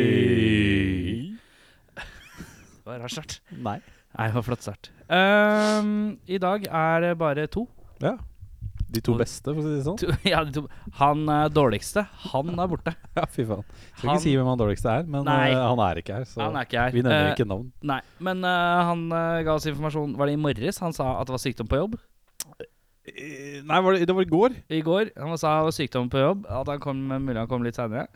Oi! Det var rar start. Nei. Nei, det var flott start. Ehm, I dag er det bare to. Ja. De to beste, for å si det sånn. to ja, de to. Han eh, dårligste, han er borte. Ja, fy faen. Skal Han- ikke si hvem han dårligste er, men Nei. eh, han er ikke her. Så Han er ikke her. vi nevner Eh, ikke navn. Nei, men eh, han eh, ga oss informasjon Var det i morges han sa at det var sykdom på jobb? Eh, Nei, var det, det var i går. I går han sa det var sykdom på jobb, at han kom, mulig han kom litt senere.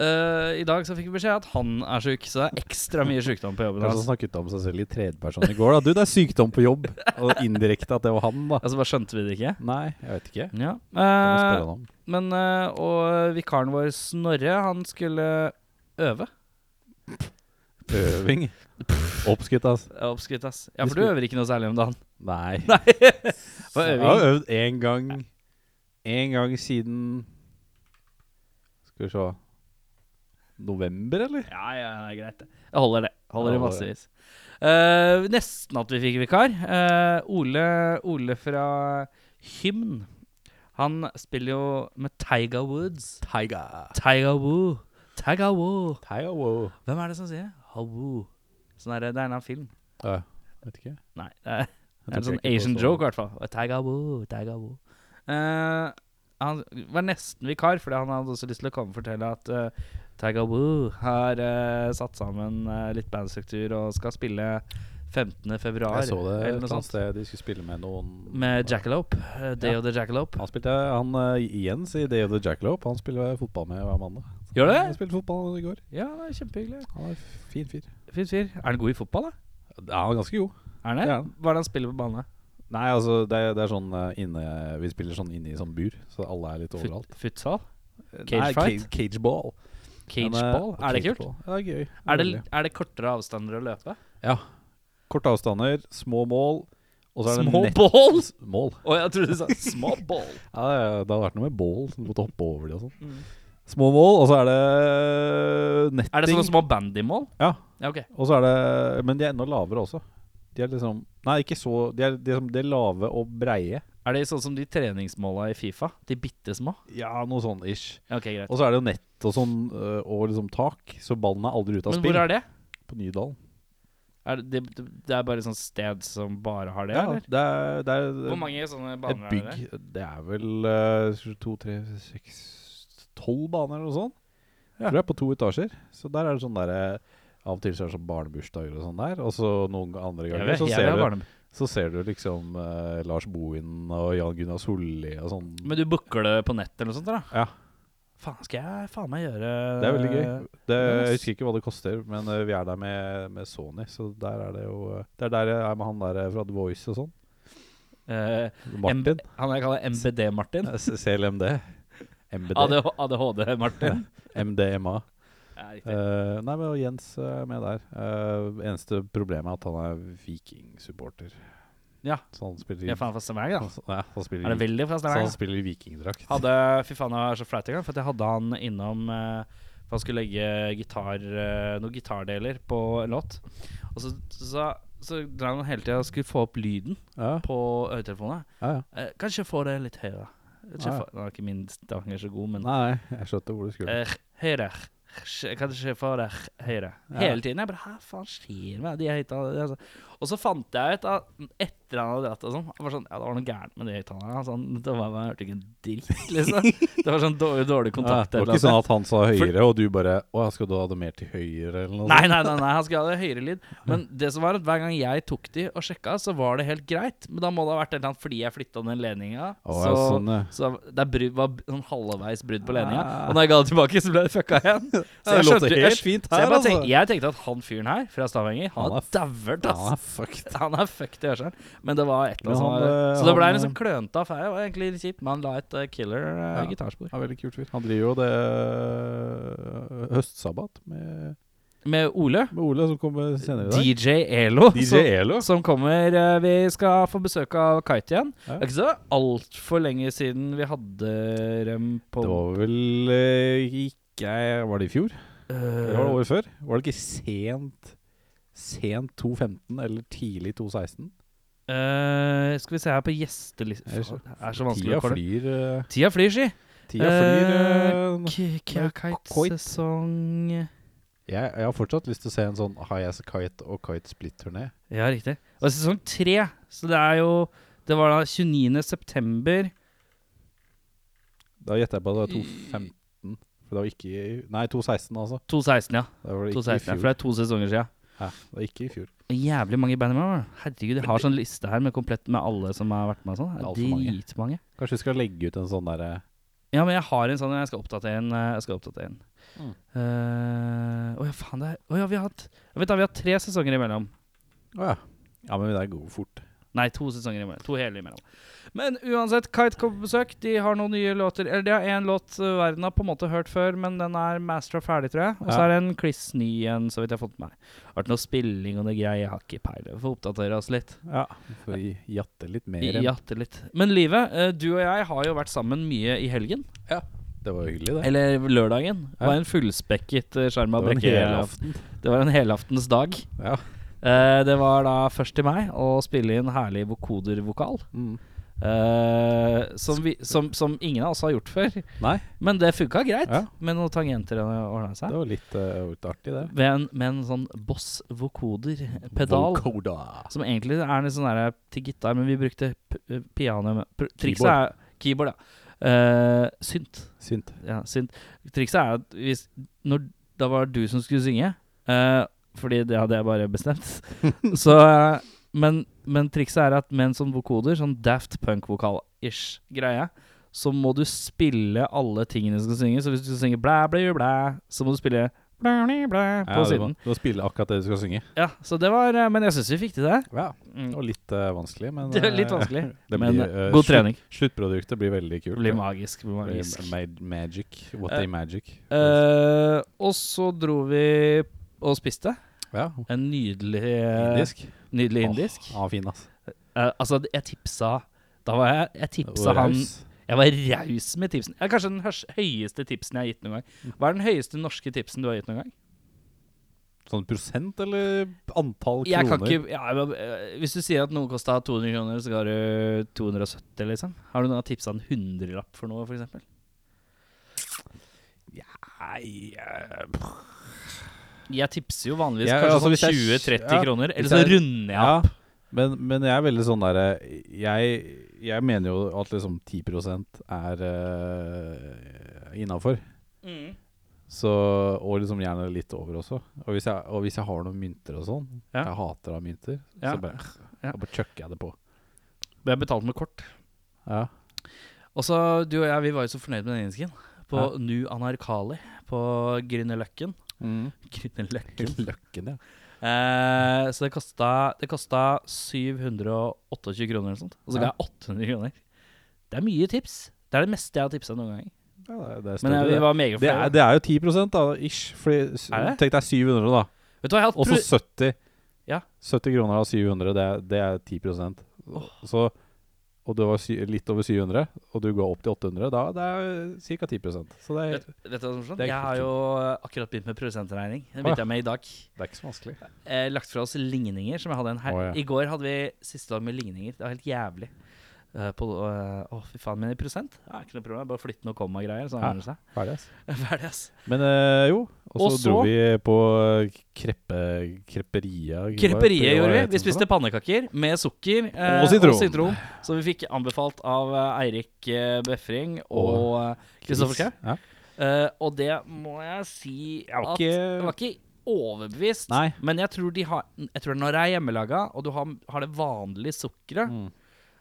Eh, I dag så fikk vi beskjed at han er syk, så det er ekstra mye sykdom på jobben Kanskje han hans. snakket om seg selv i tredjeperson i går. da Du, det er sykdom på jobb. Og indirekte at det var han, da. Altså, bare skjønte vi det ikke? Nei, jeg vet ikke. Ja. Det må jeg Eh, spørre han om. Men eh, Og vikaren vår Snorre, han skulle øve. Øving. Oppskrytt, ass. Det er Oppskrytt, ass. Ja, Vi for du skulle- øver ikke noe særlig om dagen. Nei. Hva er Jeg har øvd én gang Én gang siden Skal vi se November, eller? Ja, ja, det er greit, det. Jeg holder det. Holder i Jeg holder det. massevis. Eh, nesten at vi fikk vikar. Eh, Ole, Ole fra Hymn. Han spiller jo med Tiger Woods. Tiger. Tiger Woo. Tiger Woo. Tiger, wow. Hvem er det som sier Hawu? Sånn er det, det er en annen film. Ja, vet ikke. Nei, det er Det er en tror sånn ikke på Asian sånn. joke, i hvert fall. Og Taiga wo, taiga wo. Eh, han var nesten vikar, fordi han hadde også lyst til å komme og fortelle at uh, Taiga Woo har eh, satt sammen eh, litt bandstruktur og skal spille 15. februar. Jeg så eller det et noe eller annet sånt. sted de skulle spille med noen Med Jackalope. eh, Day Ja. of the Jackalope. Han spilte han eh, Jens i Day of the Jackalope. Han spiller fotball med hver mandag. Gjør det? Han spilte fotball i går. Ja, det er kjempehyggelig. Han er fin fyr. Fin fyr. Er han god i fotball, da? Ja, han er ganske god. Er han det? Det er han. Hva er det han spiller på banen? da? Nei, altså, det, er- det er sånn eh, inne Vi spiller sånn inne i sånn bur, så alle er litt Fut- overalt. Futsal? cage Nei, fight? ca- Cageball. Men, eh, Cageball? Er det kult? cageball. Ja, det er gøy. Er det, Veldig. er det kortere avstander å løpe? Korte avstander, små mål, og så er det Små nett- bål! Mål. Å, jeg trodde du sa små bål. Ja, det er- det hadde vært noe med bål, som måtte hoppe over de og sånn. Mm. Små mål, og så er det netting. Er det sånne små bandymål? Ja. ja ok. Og så er det Men de er enda lavere også. De er liksom Nei, ikke så De er, de er, som- de er lave og breie. Er det sånn som de treningsmåla i Fifa? De bitte små? Ja, noe sånn ish. Ja, ok, greit. Og så er det jo nett og sånn, øh, og liksom tak, så ballen er aldri ute av Men spill. hvor er det? På Nydalen. Er det, det, det er bare et sånt sted som bare har det? Ja, eller? det er, det er Hvor mange sånne et baner er det? bygg Det er vel øh, to, tre, seks Tolv baner eller noe sånt. Ja. Tror jeg, på to etasjer. Så der er det sånn derre Av og til så er det sånn barnebursdager og sånn der, og så noen andre Jeg ganger vet, så jeg ser vet du barne- Så ser du liksom eh, Lars Bohin og Jan Gunnar Solli og sånn. Men du booker det på nett eller noe sånt? da? Ja. Faen, skal jeg faen meg gjøre Det er veldig gøy. Det, eh, men jeg ass. husker ikke hva det koster, men eh, vi er der med, med Sony, så der er det jo eh, Det er der jeg er med han der eh, fra The Voice og sånn. Eh, Martin. M han jeg kaller MBD-Martin. Eh, C- CLMD. MBD. ADHD-Martin. MDMA. Ja, riktig. Eh, nei, men og Jens eh, er med der. Eh, eneste problemet er at han er vikingsupporter. Ja. Så han spiller i, jeg er faen fra Stavanger, da. han, nei, han spiller Er det i, veldig fra så Stavanger? han spiller i vikingdrakt. Hadde, fy faen, det var så flaut en gang, for at jeg hadde han innom eh, For han skulle legge gitar, eh, noen gitardeler på en låt. Og så, så, så drev han hele tida og skulle få opp lyden Ja, på øretelefonene. ja, ja. Eh, kanskje få det litt høyere. Kanskje Ja, ja. få, nå er ikke min stavanger så god, men Nei, jeg skjønte hvor du skulle. eh, Høyere. Kanskje- Kanskje få det høyere. Ja. Hele tiden. Jeg bare Hæ, faen skjer med de høyttalerne? Altså. Og så fant jeg ut, da, etter han hadde dratt og sånn han var sånn, Ja, det var noe gærent med de høyttalerne. Altså, han- det var- man hørte ikke en dritt, liksom. Det var sånn dårlig, dårlig kontakt. Ja, det eller var ikke noe. sånn at han sa høyere, og du bare Å, skal du ha det mer til høyre, eller noe Nei, nei, nei, nei, han skulle ha det høyere lyd. Men det som var at hver gang jeg tok de og sjekka, så var det helt greit. Men da må det ha vært et eller annet fordi jeg flytta den ledninga. Å, ja, så- sånn, ja. så det er bru- var b- sånn halvveis brudd på ledninga. Ah. Og når jeg ga det tilbake, så ble det fucka igjen. Så jeg, Det låter skjønte, helt jeg, fint så jeg, her, bare altså. tenkte, jeg tenkte at han fyren her fra Stavanger, han Han har er dauert, Ja, ass. nei, fuck det. Han er fucked i hørselen. Men det var et eller annet Men som han, var eh, Så det ble han, en eh, liksom klønete affære. Det var egentlig litt kjipt, men han la et eh, killer eh, Ja. gitarspor. Ja, veldig kult fyr. Han driver jo det øh, høstsabbat med, Med Ole, med Ole, som kommer senere i dag. DJ Elo, DJ som, Elo. som kommer. eh, Vi skal få besøk av Kite igjen. Ja. Det er ikke så altfor lenge siden vi hadde dem på Det var vel øh, ikke Var det i fjor? eh, Eller var det året før? Var det ikke sent Sent 2.15 eller tidlig 2.16? Eh, skal vi se her på gjestelista Er det så- Det er så vanskelig Tida å kolle. flyr. øh, Tida flyr, si. Tida flyr. Eh, eh, K- K- Kite. Kite-sesong jeg, jeg har fortsatt lyst til å se en sånn High As A Kite og Kite Split-turné. Ja, riktig. Og sesong tre. Så det er jo Det var da 29. september. Da gjetter jeg på at det var 2.15. For det var ikke i Nei, 2.16, altså. 2016, ja. Det var ikke 2016, ja. i For fjor. det er to sesonger siden. Ja, det var ikke i fjor. Og Jævlig mange bandmember. Herregud, jeg har sånn liste her med komplett med alle som har vært med. og Sånn. Det er alt Det for er mange. dritmange. Kanskje vi skal legge ut en sånn derre Ja, men jeg har en sånn jeg skal oppdatere en. eh, Jeg skal oppdatere en. Mm. Eh, Å ja, faen. det er Å ja, vi har hatt Vent, da. Vi har hatt tre sesonger imellom. Å ja. Ja, men det går fort. Nei, to sesonger imellom. To hele imellom. Men uansett, Kite kom på besøk. De har noen nye låter. Eller de har én låt eh, verden har på en måte hørt før, men den er mastra ferdig, tror jeg. Og så Ja. er det en Chris ny en, så vidt jeg har fått med meg. Har vært noe spilling og noe greier. Jeg har ikke peiling. Vi får oppdatere oss litt. Ja. For å jatte litt mer. enn- Jatte litt. Men livet, eh, du og jeg har jo vært sammen mye i helgen. Det var jo hyggelig, det. Eller lørdagen. Det var Ja. en fullspekket eh, skjerma det var en brekke. hel aften. Det var en helaftens dag. Ja. Eh, det var da først til meg å spille inn herlig vokodervokal. Mm. Eh, som, vi, som, som ingen av oss har gjort før. Nei, Men det funka greit. Ja. Med noen tangenter og ordna det seg. var litt, eh, litt artig, det. Med en, med en sånn Boss vocoder-pedal. Vocoder. Som egentlig er litt sånn der til gitar, men vi brukte p- eh, piano med- pr- Trikset Keyboard. er Keyboard, ja. Eh, synt. Synt. Ja, synt. Trikset er at hvis når, Da var det du som skulle synge. eh, fordi det hadde jeg bare bestemt. Så eh, men, men trikset er at med en sånn vokoder, sånn Daft Punk-vokal-ish greie, så må du spille alle tingene du skal synge. Så hvis du synger blæ, blæ, blæ, så må du spille blæ, blæ, blæ på Ja, du, må, siden. du må spille akkurat det du skal synge. Ja, så det var eh, Men jeg syns vi fikk til det. Ja, Mm. Det var litt eh, vanskelig, men Det er litt eh, vanskelig, det men blir, eh, god slutt- trening. Sluttproduktet blir veldig kult. Det blir ja. magisk. Det blir Blir magisk. ma- Magic. What Eh, they magic. Eh, og så dro vi og spiste. ja. En nydelig Indisk. Nydelig Åh, indisk. Ja, fin, ass. Eh, altså, jeg tipsa Da var jeg Jeg tipsa han Raus. Jeg var raus med tipsen. Ja, kanskje den hørs- høyeste tipsen jeg har gitt noen gang. Hva er den høyeste norske tipsen du har gitt noen gang? Sånn prosent eller antall kroner? Jeg kan ikke ja, men, eh, Hvis du sier at noe kosta 200 kroner, så ga du 270, liksom. Har du noen gang tipsa en hundrelapp for noe, f.eks.? Nei, eh, Jeg tipser jo vanligvis Ja, kanskje altså, hvis jeg- sånn 20-30 ja, kroner, eller hvis så jeg- runder jeg ja. opp. Men, men jeg er veldig sånn derre jeg, jeg mener jo at liksom 10 er uh, innafor. Mm. Så, og liksom gjerne litt over også. Og hvis jeg, og hvis jeg har noen mynter og sånn Ja. Jeg hater å ha mynter. Ja. Så bare, Ja. da bare chucker jeg det på. Men jeg betalte med kort. Ja. Og så du og jeg, vi var jo så fornøyd med den indisken. På Nu Anarkali på Grünerløkken. Mm. Grünerløkken. Løkken, ja. Eh, så det kosta, det kosta 728 kroner eller noe sånt. Altså, Og så ga jeg 800 kroner. Det er mye tips. Det er det meste jeg har tipsa noen gang. ja det, er- det, Men er eh, større, jeg, vi det. var meget det, er, fornøyde. det er jo 10 da, ish. Fordi, s- Er det? tenk deg 700, da. Vet du hva, jeg har hatt Og så pro- 70. Ja. 70 kroner av 700, det er, det er 10 Så og du var sy litt over 700, og du går opp til 800, da det er ca. 10 Så det er, vet, vet du hva som er sånn? Det Jeg er ikke har kult. jo akkurat begynt med produsentregning. Det Å, ja. begynte jeg med i dag. det er ikke så vanskelig. eh, lagt fra oss ligninger som jeg hadde en her. Å, ja. I går hadde vi siste dag med ligninger. Det var helt jævlig. Eh, på, eh, å, fy faen. Men i prosent? Ja, ikke noe problem. Bare flytte noe komma og greier, så Ja. ordner det seg. Ferdig, ass. Ferdig, ass. Men eh, jo, og Og så så- dro vi på eh, kreppe, krepperia Kreperiet gjorde vi. Vi spiste pannekaker med sukker eh, Og sitron. Som vi fikk anbefalt av eh, Eirik eh, Befring og eh, Kristoffer Schau. Ja. Eh, og det må jeg si Jeg var at ikke- Jeg var ikke overbevist. Nei. Men jeg tror, de har, jeg tror når det er hjemmelaga, og du har, har det vanlige sukkeret, Mm.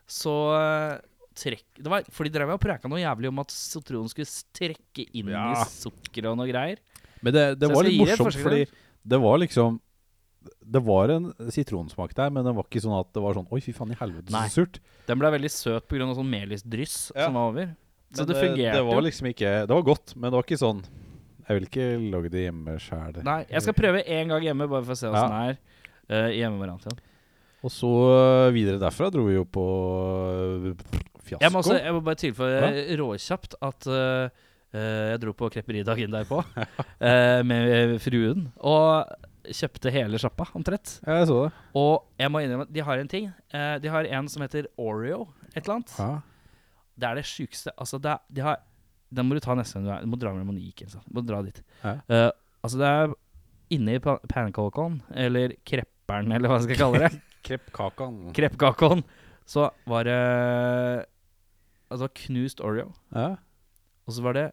så eh, trekk det var, For de drev og preka noe jævlig om at sitron skulle s- trekke inn Ja. i sukkeret og noe greier. Men det, Så det jeg var skal litt gi det et morsomt, forsøk, fordi det var liksom Det var en sitronsmak der, men den var ikke sånn at det var sånn Oi, fy faen i helvete, Nei. så surt. Den ble veldig søt pga. sånn melisdryss Ja. som var over. Så Men det, fungerte Det jo. var liksom ikke Det var godt, men det var ikke sånn Jeg vil ikke lage det hjemme sjæl. Nei, jeg skal prøve en gang hjemme, bare for å se åssen Ja. det er uh, hjemme med Rantian. Og så øh, videre derfra dro vi jo på øh, fiasko. Jeg må, også, jeg må bare tilføye eh, råkjapt at eh, eh, jeg dro på kreperidagen derpå eh, med fruen. Og kjøpte hele sjappa, omtrent. ja, jeg så det. Og jeg må innrømme at de har en ting. Eh, de har en som heter Oreo, et eller annet. Ja. Det er det sjukeste. Altså, det er, de har Den må du ta neste gang du er Du må dra med Monique. Eller sånn. Du må dra dit. Ja. Eh, altså, det er inne i pa- pannekakon, eller krepperen, eller hva jeg skal kalle det. Kreppkakan. Kreppkakon. Så var det Altså knust Oreo, Ja. og så var det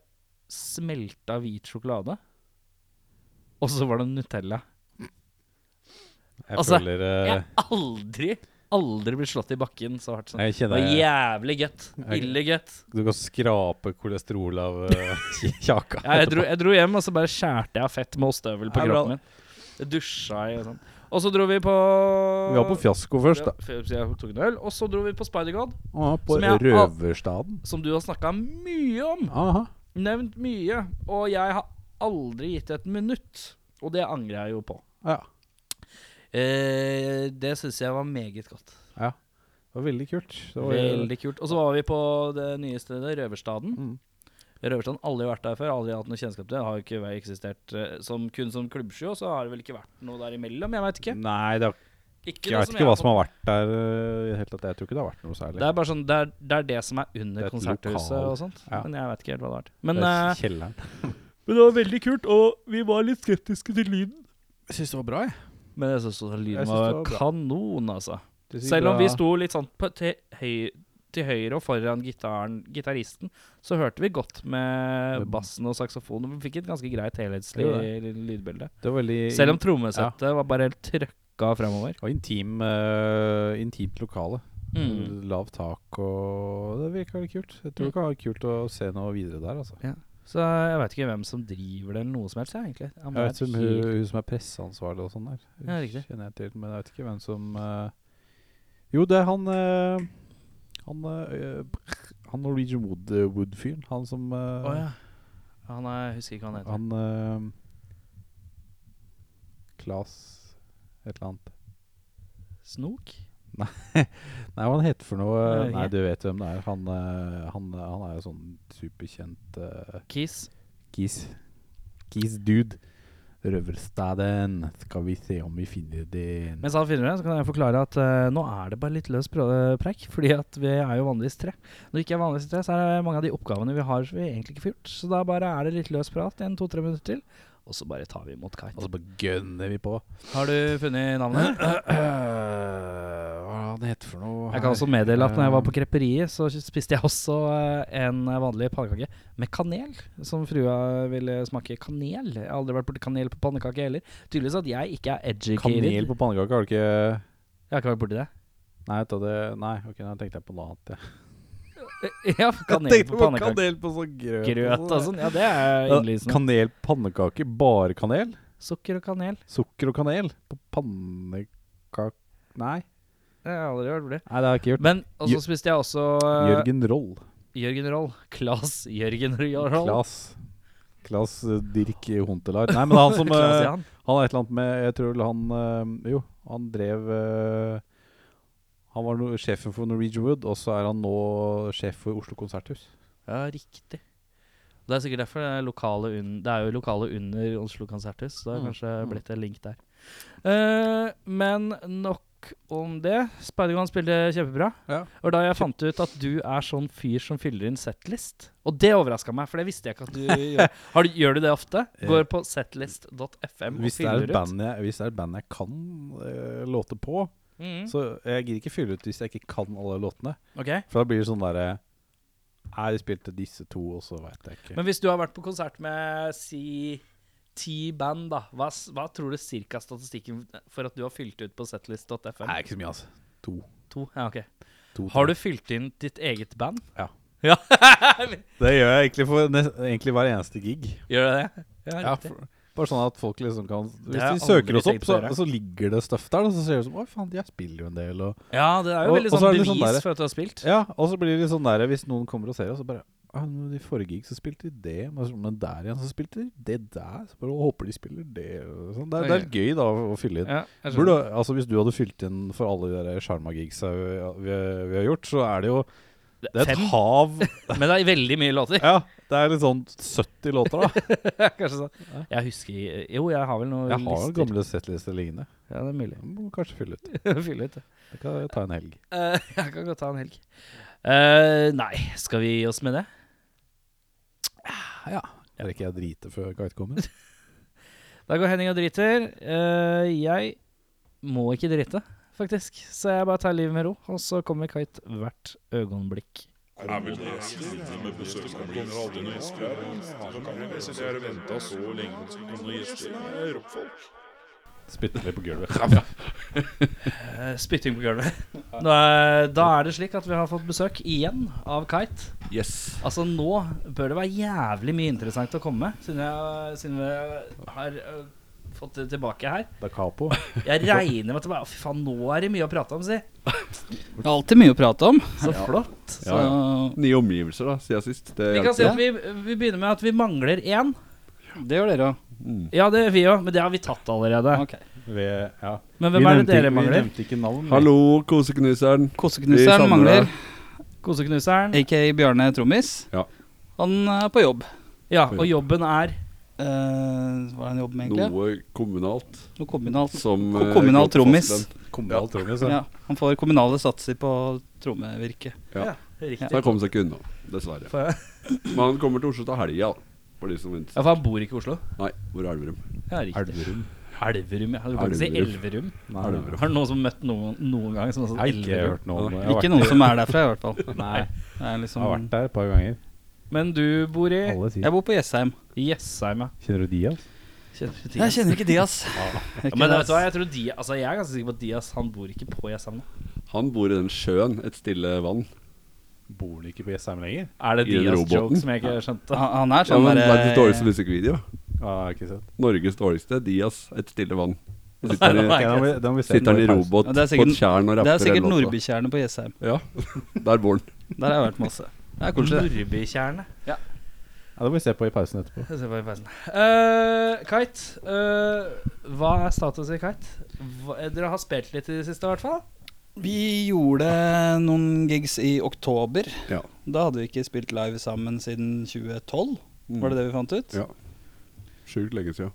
smelta hvit sjokolade. Og så var det Nutella. Jeg Altså, føler Jeg eh, har aldri, aldri blitt slått i bakken så hardt som Jeg Det var kjenner jeg, jævlig gøtt. Jeg- Ille gøtt. du kan skrape kolesterol av eh, kjaka. Ja, jeg, dro, jeg dro hjem, og så bare skjærte jeg av fett med ostehøvel på Ja, bra. kroppen min. Jeg dusja i og sånn. Og så dro vi på Vi var på fiasko først, da. Ja, f- jeg tok en øl. Og så dro vi på Spider-God, Ah, på Som jeg- Røverstaden. som du har snakka mye om. Aha. Nevnt mye. Og jeg har aldri gitt et minutt. Og det angrer jeg jo på. Ja. Eh, det syns jeg var meget godt. ja. Det var veldig kult. Det var, Veldig kult. Og så var vi på det nye stedet, Røverstaden. Mm. Røverstaden, Aldri vært der før, aldri hatt noe kjennskap til det. Har jo ikke eksistert eh, som, kun som klubbsjø, og så har det vel ikke vært noe der imellom. Jeg veit ikke. Nei, det har, Ikke jeg det vet ikke hva som har vært der. eh, i det hele tatt. Jeg tror ikke det har vært noe fått- særlig. Det er bare sånn, det er det, er det som er Det er under et konserthuset lokal. og sånt. Ja. Men jeg veit ikke helt hva det har vært. Men, det eh, er kjelleren. men det var veldig kult, og vi var litt skeptiske til lyden. Jeg syns det var bra, jeg. Men jeg syns lyden Jeg synes var, det var bra. kanon, altså. Selv om vi sto litt sånn på, til, høy, til høyre og foran gitaren, gitaristen, så hørte vi godt med Med- bassen og saksofonen. og Vi fikk et ganske greit helhetslig Jo, lydbilde. Det var veldig Selv om trommesettet var bare helt trøkka framover. Det var intim, eh, intimt lokale. Mm. Lavt tak og Det virka litt kult. Jeg Mm. tror det kan være kult å se noe videre der, altså. Så jeg veit ikke hvem som driver det, eller noe som helst, jeg, egentlig. Han Jeg er vet ikke om hun, helt- hun som er presseansvarlig og sånn der. Hun Ja, riktig. Kjenner jeg til, men jeg vet ikke hvem som eh, Jo, det er han eh, Han eh, Han Norwegian Wood- eh, Wood-fyren. han som eh, Å ja. Han er, jeg husker ikke hva han heter. Han eh, Klas et eller annet. Snok? Nei, hva han heter for noe Jeg vet Nei, ikke. du vet hvem det er. Han, eh, han, han er jo sånn superkjent eh, Kiss? Kis. Kis dude. Røverstaden. Skal vi se om vi finner det Mens han finner det, så kan jeg forklare at eh, nå er det bare litt løs prø- eh, preik, fordi at vi er jo vanligvis tre. Når vi ikke er vanligvis tre, så er det mange av de oppgavene vi har som vi egentlig ikke får gjort. Så da bare er det litt løs prat en, to, tre minutter til, og så bare tar vi imot Og så Kite. Altså, bare gønner vi på. Altså, Har du funnet navnet? Hva er det heter for noe Jeg kan også meddele at når jeg var på krepperiet, så spiste jeg også eh, en vanlig pannekake med kanel, som frua ville smake kanel. Jeg har aldri vært borti kanel på pannekake heller. Tydeligvis at jeg ikke er educated. Kanel på pannekake, har du ikke Jeg har ikke vært borti det. Nei, vet du det Nei, ok, nå tenkte jeg på noe annet. Ja. Ja, kanel på pannekake. kanel på sånn grøt. Grøt og sånn. Ja, det er Ja, innlysende. kanel på pannekake, bare kanel? Sukker og kanel. Sukker og kanel på pannekake Nei. Jeg har aldri hørt det. Nei, det har jeg ikke gjort. Men og så spiste jeg også eh, Jørgen Roll. Jørgen Roll. Klas Jørgen Roll. Klas. Klas eh, Dirk Huntelaar. Nei, men han som Klas, eh, ja. Han er et eller annet med Jeg tror vel han eh, Jo, han drev eh, Han var no sjefen for Norwegian Wood, og så er han nå sjef for Oslo Konserthus. ja, riktig. Det er sikkert derfor det er lokale, un det er jo lokale under Oslo Konserthus. Så det har Mm, kanskje mm. blitt en link der. Eh, men nok om det. Spider-Man spilte kjempebra. Ja. Og da jeg fant ut at du er sånn fyr som fyller inn setlist. Og det overraska meg, for det visste jeg ikke at du gjør. Har du, gjør du det ofte? Går på setlist.fm og Eh. Hvis det, er fyller et ut. band jeg, hvis det er et band jeg kan eh, låter på, Mhm. så jeg gidder ikke fylle ut hvis jeg ikke kan alle låtene. Ok. For da blir det sånn derre Nei, de spilte disse to, og så veit jeg ikke. Men hvis du har vært på konsert med si ti band, da, hva, s- hva tror du cirka statistikken for at du har fylt ut på setlist.fm? Nei, ikke så mye, altså. To. To? Ja, ok. to Har du fylt inn ditt eget band? Ja. Ja. Det gjør jeg egentlig for nes- egentlig hver eneste gig. Gjør du det? Ja, riktig. for, bare sånn at folk liksom kan Det Hvis har de jeg søker aldri oss opp, tenkt så, på å gjøre. så ligger det stuff der. Og så ser det ut som Å, faen, de her spiller jo en del, og ja, det er jo Og- veldig og så sånn er det bevis sånn der- for at du har spilt. Ja, og så blir det litt sånn der hvis noen kommer og ser oss, så bare «Ah, men I forrige gig så spilte de det, men så- men der igjen så spilte de det der. Så bare «Å, håper de spiller det og sånn. Det, er- det er Ok. gøy, da, å å fylle inn. Ja, jeg skjønner. Burde, altså Hvis du hadde fylt inn for alle de der Sjarma-gigsa vi, vi, vi har gjort, så er det jo Det er et Fem, hav men det er veldig mye låter. Ja, det er litt sånn 70 låter, da. Kanskje sånn. Ja. Jeg husker Jo, jeg har vel noen Jeg har jo lister. gamle settlister liggende. Ja, det er mulig. Jeg Må kanskje fylle ut. Fylle ut. det. Jeg kan ta en helg. Eh, jeg kan godt ta en helg. Eh, nei, skal vi gi oss med det? ja. Bare ikke jeg driter før guide kommer. Da går Henning og driter. Eh, jeg må ikke drite, faktisk. Så jeg bare tar livet med ro, og så kommer kite hvert øyeblikk. Spytter litt på gulvet. Eh, spytting på gulvet. Nå er, da er det slik at vi har fått besøk igjen av Kite. Yes. Altså Nå bør det være jævlig mye interessant å komme med, siden, jeg- siden vi har eh, fått det tilbake her. Da Capo. Jeg regner med at det bare Fy faen, nå er det mye å prate om, si. Det er alltid mye å prate om. Så flott. Så Ja, Nye omgivelser, da, siden sist. Det Vi hjelper. kan si at vi, vi begynner med at vi mangler én. det gjør dere òg. Mm. Ja, det gjør vi òg, men det har vi tatt allerede. Ok. Ved, ja. Men Vi hvem er det nevnte ikke- dere Vi mangler? nevnte ikke navn. Hallo, koseknuseren. Vi Koseknuseren savner mangler, Koseknuseren. aka Bjarne Trommis. Ja. Han er på jobb. Ja, og jobben er Eh, hva er han jobber med, egentlig? Noe kommunalt Noe kommunalt. som Ko- eh, kommunal går på trommis. fastlønn. Kommunal Trommis. Ja, han får kommunale satser på trommevirke. Ja. riktig. Så han kom seg ikke unna, dessverre. For, Men han kommer til Oslo til helga, da. For de som ja, venter. for han bor ikke i Oslo. Nei, hvor er Elverum? Ja, riktig. Elverum. Elverum, ja. Du kan ikke si Elverum. Nei, Elverum. Har du noen som møtt noen noen gang som har Jeg sagt har ikke Elverum? hørt noe om det. Jeg Ikke har vært- noen som er derfra, i hvert fall. Nei, Det er jeg har vært liksom, der et par ganger. Men du bor i Alle sier jeg bor på Jessheim. Jessheim, ja. Kjenner du de, altså? Kjenner du Jeg Dias? kjenner ikke de, ass. Ja, men vet du hva, jeg tror Dias Altså, jeg er ganske sikker på at Dias han bor ikke på Jessheim. nå. Han bor i den sjøen, et stille vann. Bor du ikke på Jessheim lenger? Er det I den roboten? Dias-joke som jeg ikke skjønte? Han han er Ja, sånn men, det er eh, derre- det dårligste musikkvideo. Ja, ikke sant. Norges dårligste. Dias, et stille vann. Så Sitter han i, Ok, da må vi- da må vi se sitter den han i pausen. robot Ja, på det er sikkert- et tjern og Det er rapper en sikkert låt, da. Nordbytjernet på Jessheim. Ja, der bor han. Der har jeg vært masse. Det er koselig. det. Nordbytjernet. Ja, det må vi se på i pausen etterpå. Jeg ser bare i pausen. Eh, kite. eh, hva er status i kite? Hva, eh, dere har spilt litt i det siste, i hvert fall? Vi gjorde noen gigs i oktober. Ja. Da hadde vi ikke spilt live sammen siden 2012, Mm. var det det vi fant ut? Mm. Ja. Sjukt lenge siden.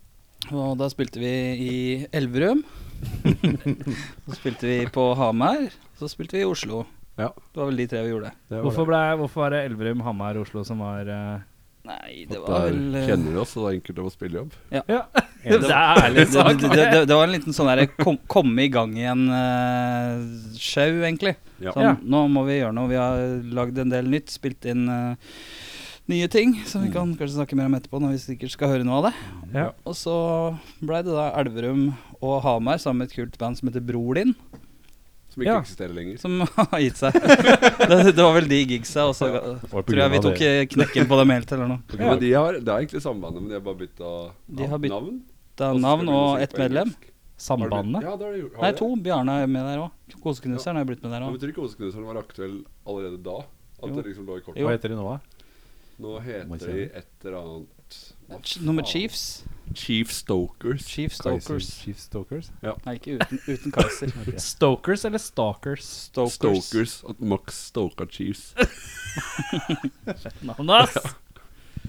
Og da spilte vi i Elverum. så spilte vi på Hamar. Så spilte vi i Oslo. Ja. Det var vel de tre vi gjorde. Det var Hvorfor, det. ble, hvorfor var det Elverum, Hamar, Oslo som var eh, Nei, det var Der vel eh, kjenner vi oss, og det er enkelt å spille jobb. Ja. Ja, det er ærlig det, sagt. det, det, det, det var en liten sånn derre kom- komme i gang igjen-show, egentlig. Ja. Sånn, Ja. Nå må vi gjøre noe. Vi har lagd en del nytt, spilt inn eh, nye ting som vi Mm. kan kanskje snakke mer om etterpå når vi sikkert skal høre noe av det. Ja. Og så blei det da Elverum og Hamar sammen med et kult band som heter Bror din, Som ikke Ja. eksisterer lenger. som har gitt seg. det, det var vel de gigsa, og så var på tror jeg grunn vi av tok eh, knekken på dem helt eller noe. Ja. Men de har, det er egentlig samme bandet, men de har bare bytta De har bytt- navn. Da og så skal navn vi begynne å og synge ett på medlem. engelsk. Har du- Sambandet? Ja, det har de gjort. Har Nei, de det? to. Bjarne er med der òg. Koseknuseren er blitt med der Men òg. betyr ikke Koseknuseren var aktuell allerede da? At Jo. det liksom lå i kortet? Jo. Hva heter de nå, da? Nå Må jeg heter se de det. et eller annet Hva Ch- Nummer faen? Chiefs. Chief Stokers. Chief Stokers. Kaiser Chief Stalkers? Nei, ikke uten, uten Kaiser. Stokers eller Stalkers? Stokers. Stokers. At Max stoka Chiefs. Navnet ass!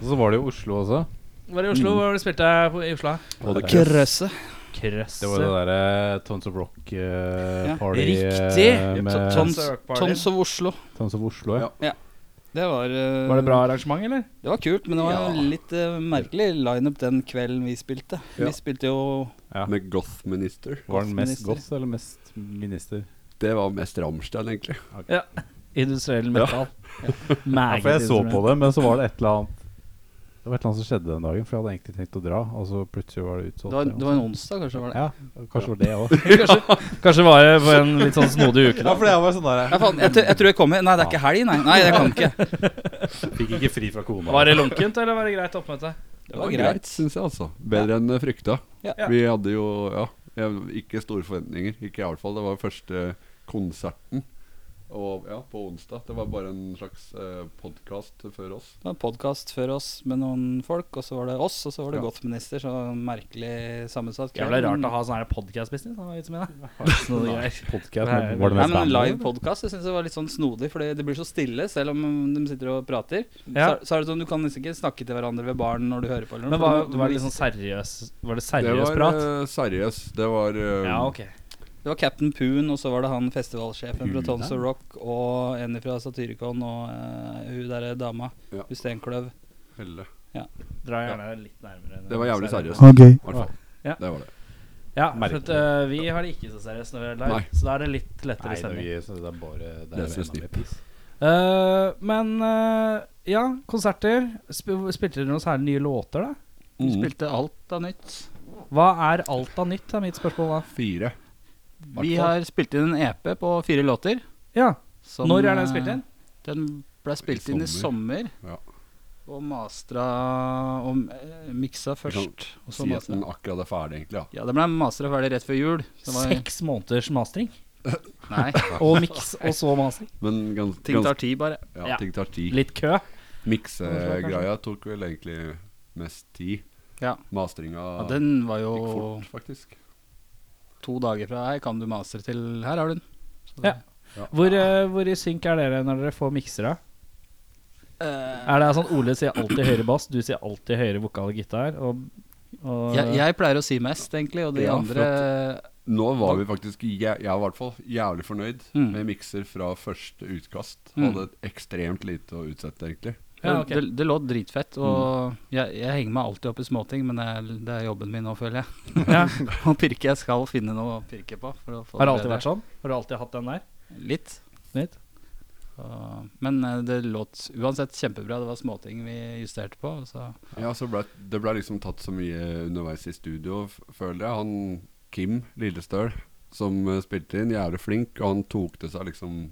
Og så var det jo Oslo også. Var det i Mm. Oslo? Hvor var det du spilte på- i Oslo? Og det krøss. Krøsse. Krøsse. Det var det derre Tons of Rock-party Ja, riktig. eh, med Tons, Krøsse Rock Party. Tons of Oslo. Tons of Sånn Oslo, ja. Ja. Det var eh, Var det bra arrangement, eller? Det var kult, men det var jo litt eh, merkelig lineup den kvelden vi spilte. Ja. Vi spilte jo ja. Med Goth Minister. Var den mest Goth-minister. goth eller mest minister? Det var mest Rammstein, egentlig. Industriell metal. Ja, for jeg så på det, men så var det et eller annet Det var et eller annet som skjedde den dagen, for jeg hadde egentlig tenkt å dra, og så plutselig var det Det utsolgt. var, eller det var en onsdag, kanskje. var det noe sånt. Ja, kanskje var det òg. Kanskje var det på en litt sånn snodig uke. Ja, for det var sånn der Nei, faen, jeg, tr- jeg tror jeg kommer. Nei, det er ikke helg, nei. Nei, jeg kan ikke. Fikk ikke fri fra kona. Var det lunkent, eller var det greit oppmøte? Det var greit. syns jeg, altså. Bedre enn jeg frykta. Ja. Ja. Vi hadde jo ja, jeg- ikke store forventninger. Ikke i hvert fall. Det var første konserten. Og ja, på onsdag. Det var bare en slags eh, podkast før oss. Det var podkast før oss med noen folk, og så var det oss, og så var Ja. det Gothminister. Så merkelig sammensatt. Jævla rart å ha sånn her podcast-business. da, litt som jeg, da. Sånne greier. Podcast, Nei, men var det Nei, mest men band? Live podkast syns jeg var litt sånn snodig, for det blir så stille selv om de sitter og prater. Ja. Så, så er det sånn, Du kan nesten ikke snakke til hverandre ved baren når du hører på. eller noe, Men for var, du må- liksom du var må det litt sånn seriøs vise- Var det Det seriøs var prat? eh, seriøs. Det var eh, Ja, ok. Det var Captain Poon, og så var det han festivalsjefen fra Hun Tons der? of Rock, og en fra Satyricon, og eh, hun derre dama, Ja. hun Steinkløv. Helle. Dra gjerne litt nærmere. Det var jævlig seriøst. Ok. I hvert fall. Ja. Det var det. Ja, for Merkelig. at, eh, vi har det ikke så seriøst når vi er live, Nei. så da er det litt lettere det, stemning. det er bare er Det er enda snipp. mer Eh, men eh, ja, konserter. Sp spilte dere noen særlig nye låter, da? Vi Mm. spilte alt av nytt. Hva er alt av nytt, er mitt spørsmål da. Fire. Vi Hvertfall. har spilt inn en EP på fire låter. Ja, som, Når er den eh, spilt inn? Den ble spilt inn i sommer. Ja. Og mastra og eh, miksa først. Og så Si at den mastra. akkurat er ferdig, egentlig. Ja. Ja, den ble mastra ferdig rett før jul. Det var- Seks måneders mastring. Nei, Og miks, og så mastring. Men gans, ting gans- tar tid, bare. ja, Ja. ting tar tid. Litt kø. Miksegreia tok vel egentlig mest tid. Ja. Mastringa Ja, den var gikk jo fort, faktisk. to dager fra her kan du mastre til her har du den. Så det- Ja. Hvor, eh, hvor i synk er dere når dere får miksere? Eh, Er det sånn Ole sier alltid høyere bass, du sier alltid høyere vokal og gitar? Og, og Eh, jeg, jeg pleier å si mest, egentlig, og de Ja, for andre Nå var vi faktisk, jæ- jeg var i hvert fall, jævlig fornøyd Mm. med mikser fra første utkast. Mm. Hadde ekstremt lite å utsette, egentlig. Ja, ok. det, det lå dritfett, Mm. og jeg, jeg henger meg alltid opp i småting, men det er, det er jobben min nå, føler jeg. ja. Å pirke, jeg skal finne noe å pirke på. For å få Har det alltid vært sånn? Har du alltid hatt den der? Litt. Litt? Og- men eh, det låt uansett kjempebra. Det var småting vi justerte på. og Så. Ja, så ble, Det ble liksom tatt så mye underveis i studio, f- føler jeg. Han Kim Lillestøl, som eh, spilte inn, jævlig flink, og han tok til seg liksom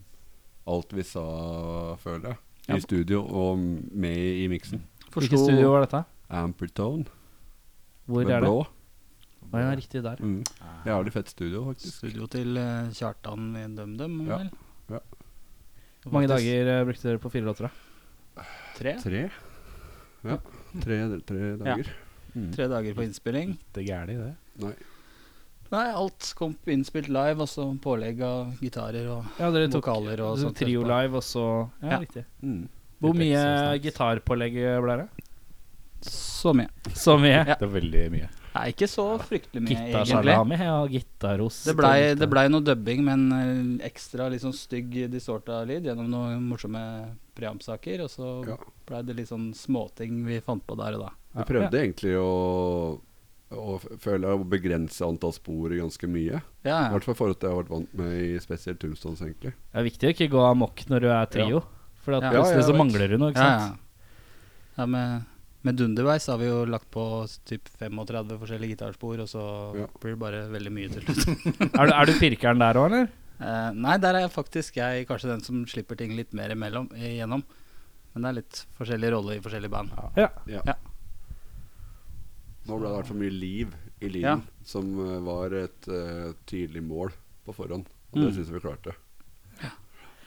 alt vi sa, føler jeg, Ja. i studio og med i miksen. Hvilket studio var dette? Ampertone Hvor med er det? blå. Å, ja, riktig der. Mm. Jævlig fett studio, faktisk. studio til eh, Kjartan i DumDum. Ja. vel? Ja. Hvor mange dager eh, brukte dere på fire låter? da? Tre. Tre. Ja. Tre, tre dager. Mm. Tre dager på innspilling. Det er gærlig, det. Nei. Nei, alt kom innspilt live, og så pålegg av gitarer og Ja, dere tok vokaler og sånt. Trio etterpå. live, og så Ja, Ja. riktig. Mm. Hvor Litt mye ekstra snacks. gitarpålegg ble det? Så mye. Så mye. Ja. Det er veldig mye. Nei, ikke så fryktelig mye, egentlig. Gitarsalami og gitarost. Det blei ble noe dubbing med en eh, ekstra litt sånn stygg distorta lyd gjennom noen morsomme preamp-saker, og så Ja. blei det litt sånn småting vi fant på der og da. Vi prøvde egentlig å, å f- føle å begrense antall spor ganske mye. I Ja, ja. hvert fall i forhold til det jeg har vært vant med i spesielt Tombstones, egentlig. Det er viktig å ikke gå amok når du er trio. For at Ja. plutselig Ja, så jeg vet. mangler du noe, ikke ja, sant? ja. ja med, med Dunderwise har vi jo lagt på typ 35 forskjellige gitarspor, og så Ja. blir det bare veldig mye til slutt. Er, du, er du pirkeren der òg, eller? Eh, nei, der er faktisk jeg kanskje den som slipper ting litt mer imellom, igjennom. Men det er litt forskjellig rolle i forskjellige band. Nå ble det i hvert fall mye liv i Ja. lyden, som eh, var et eh, tydelig mål på forhånd. Og det Mm. syns jeg vi klarte.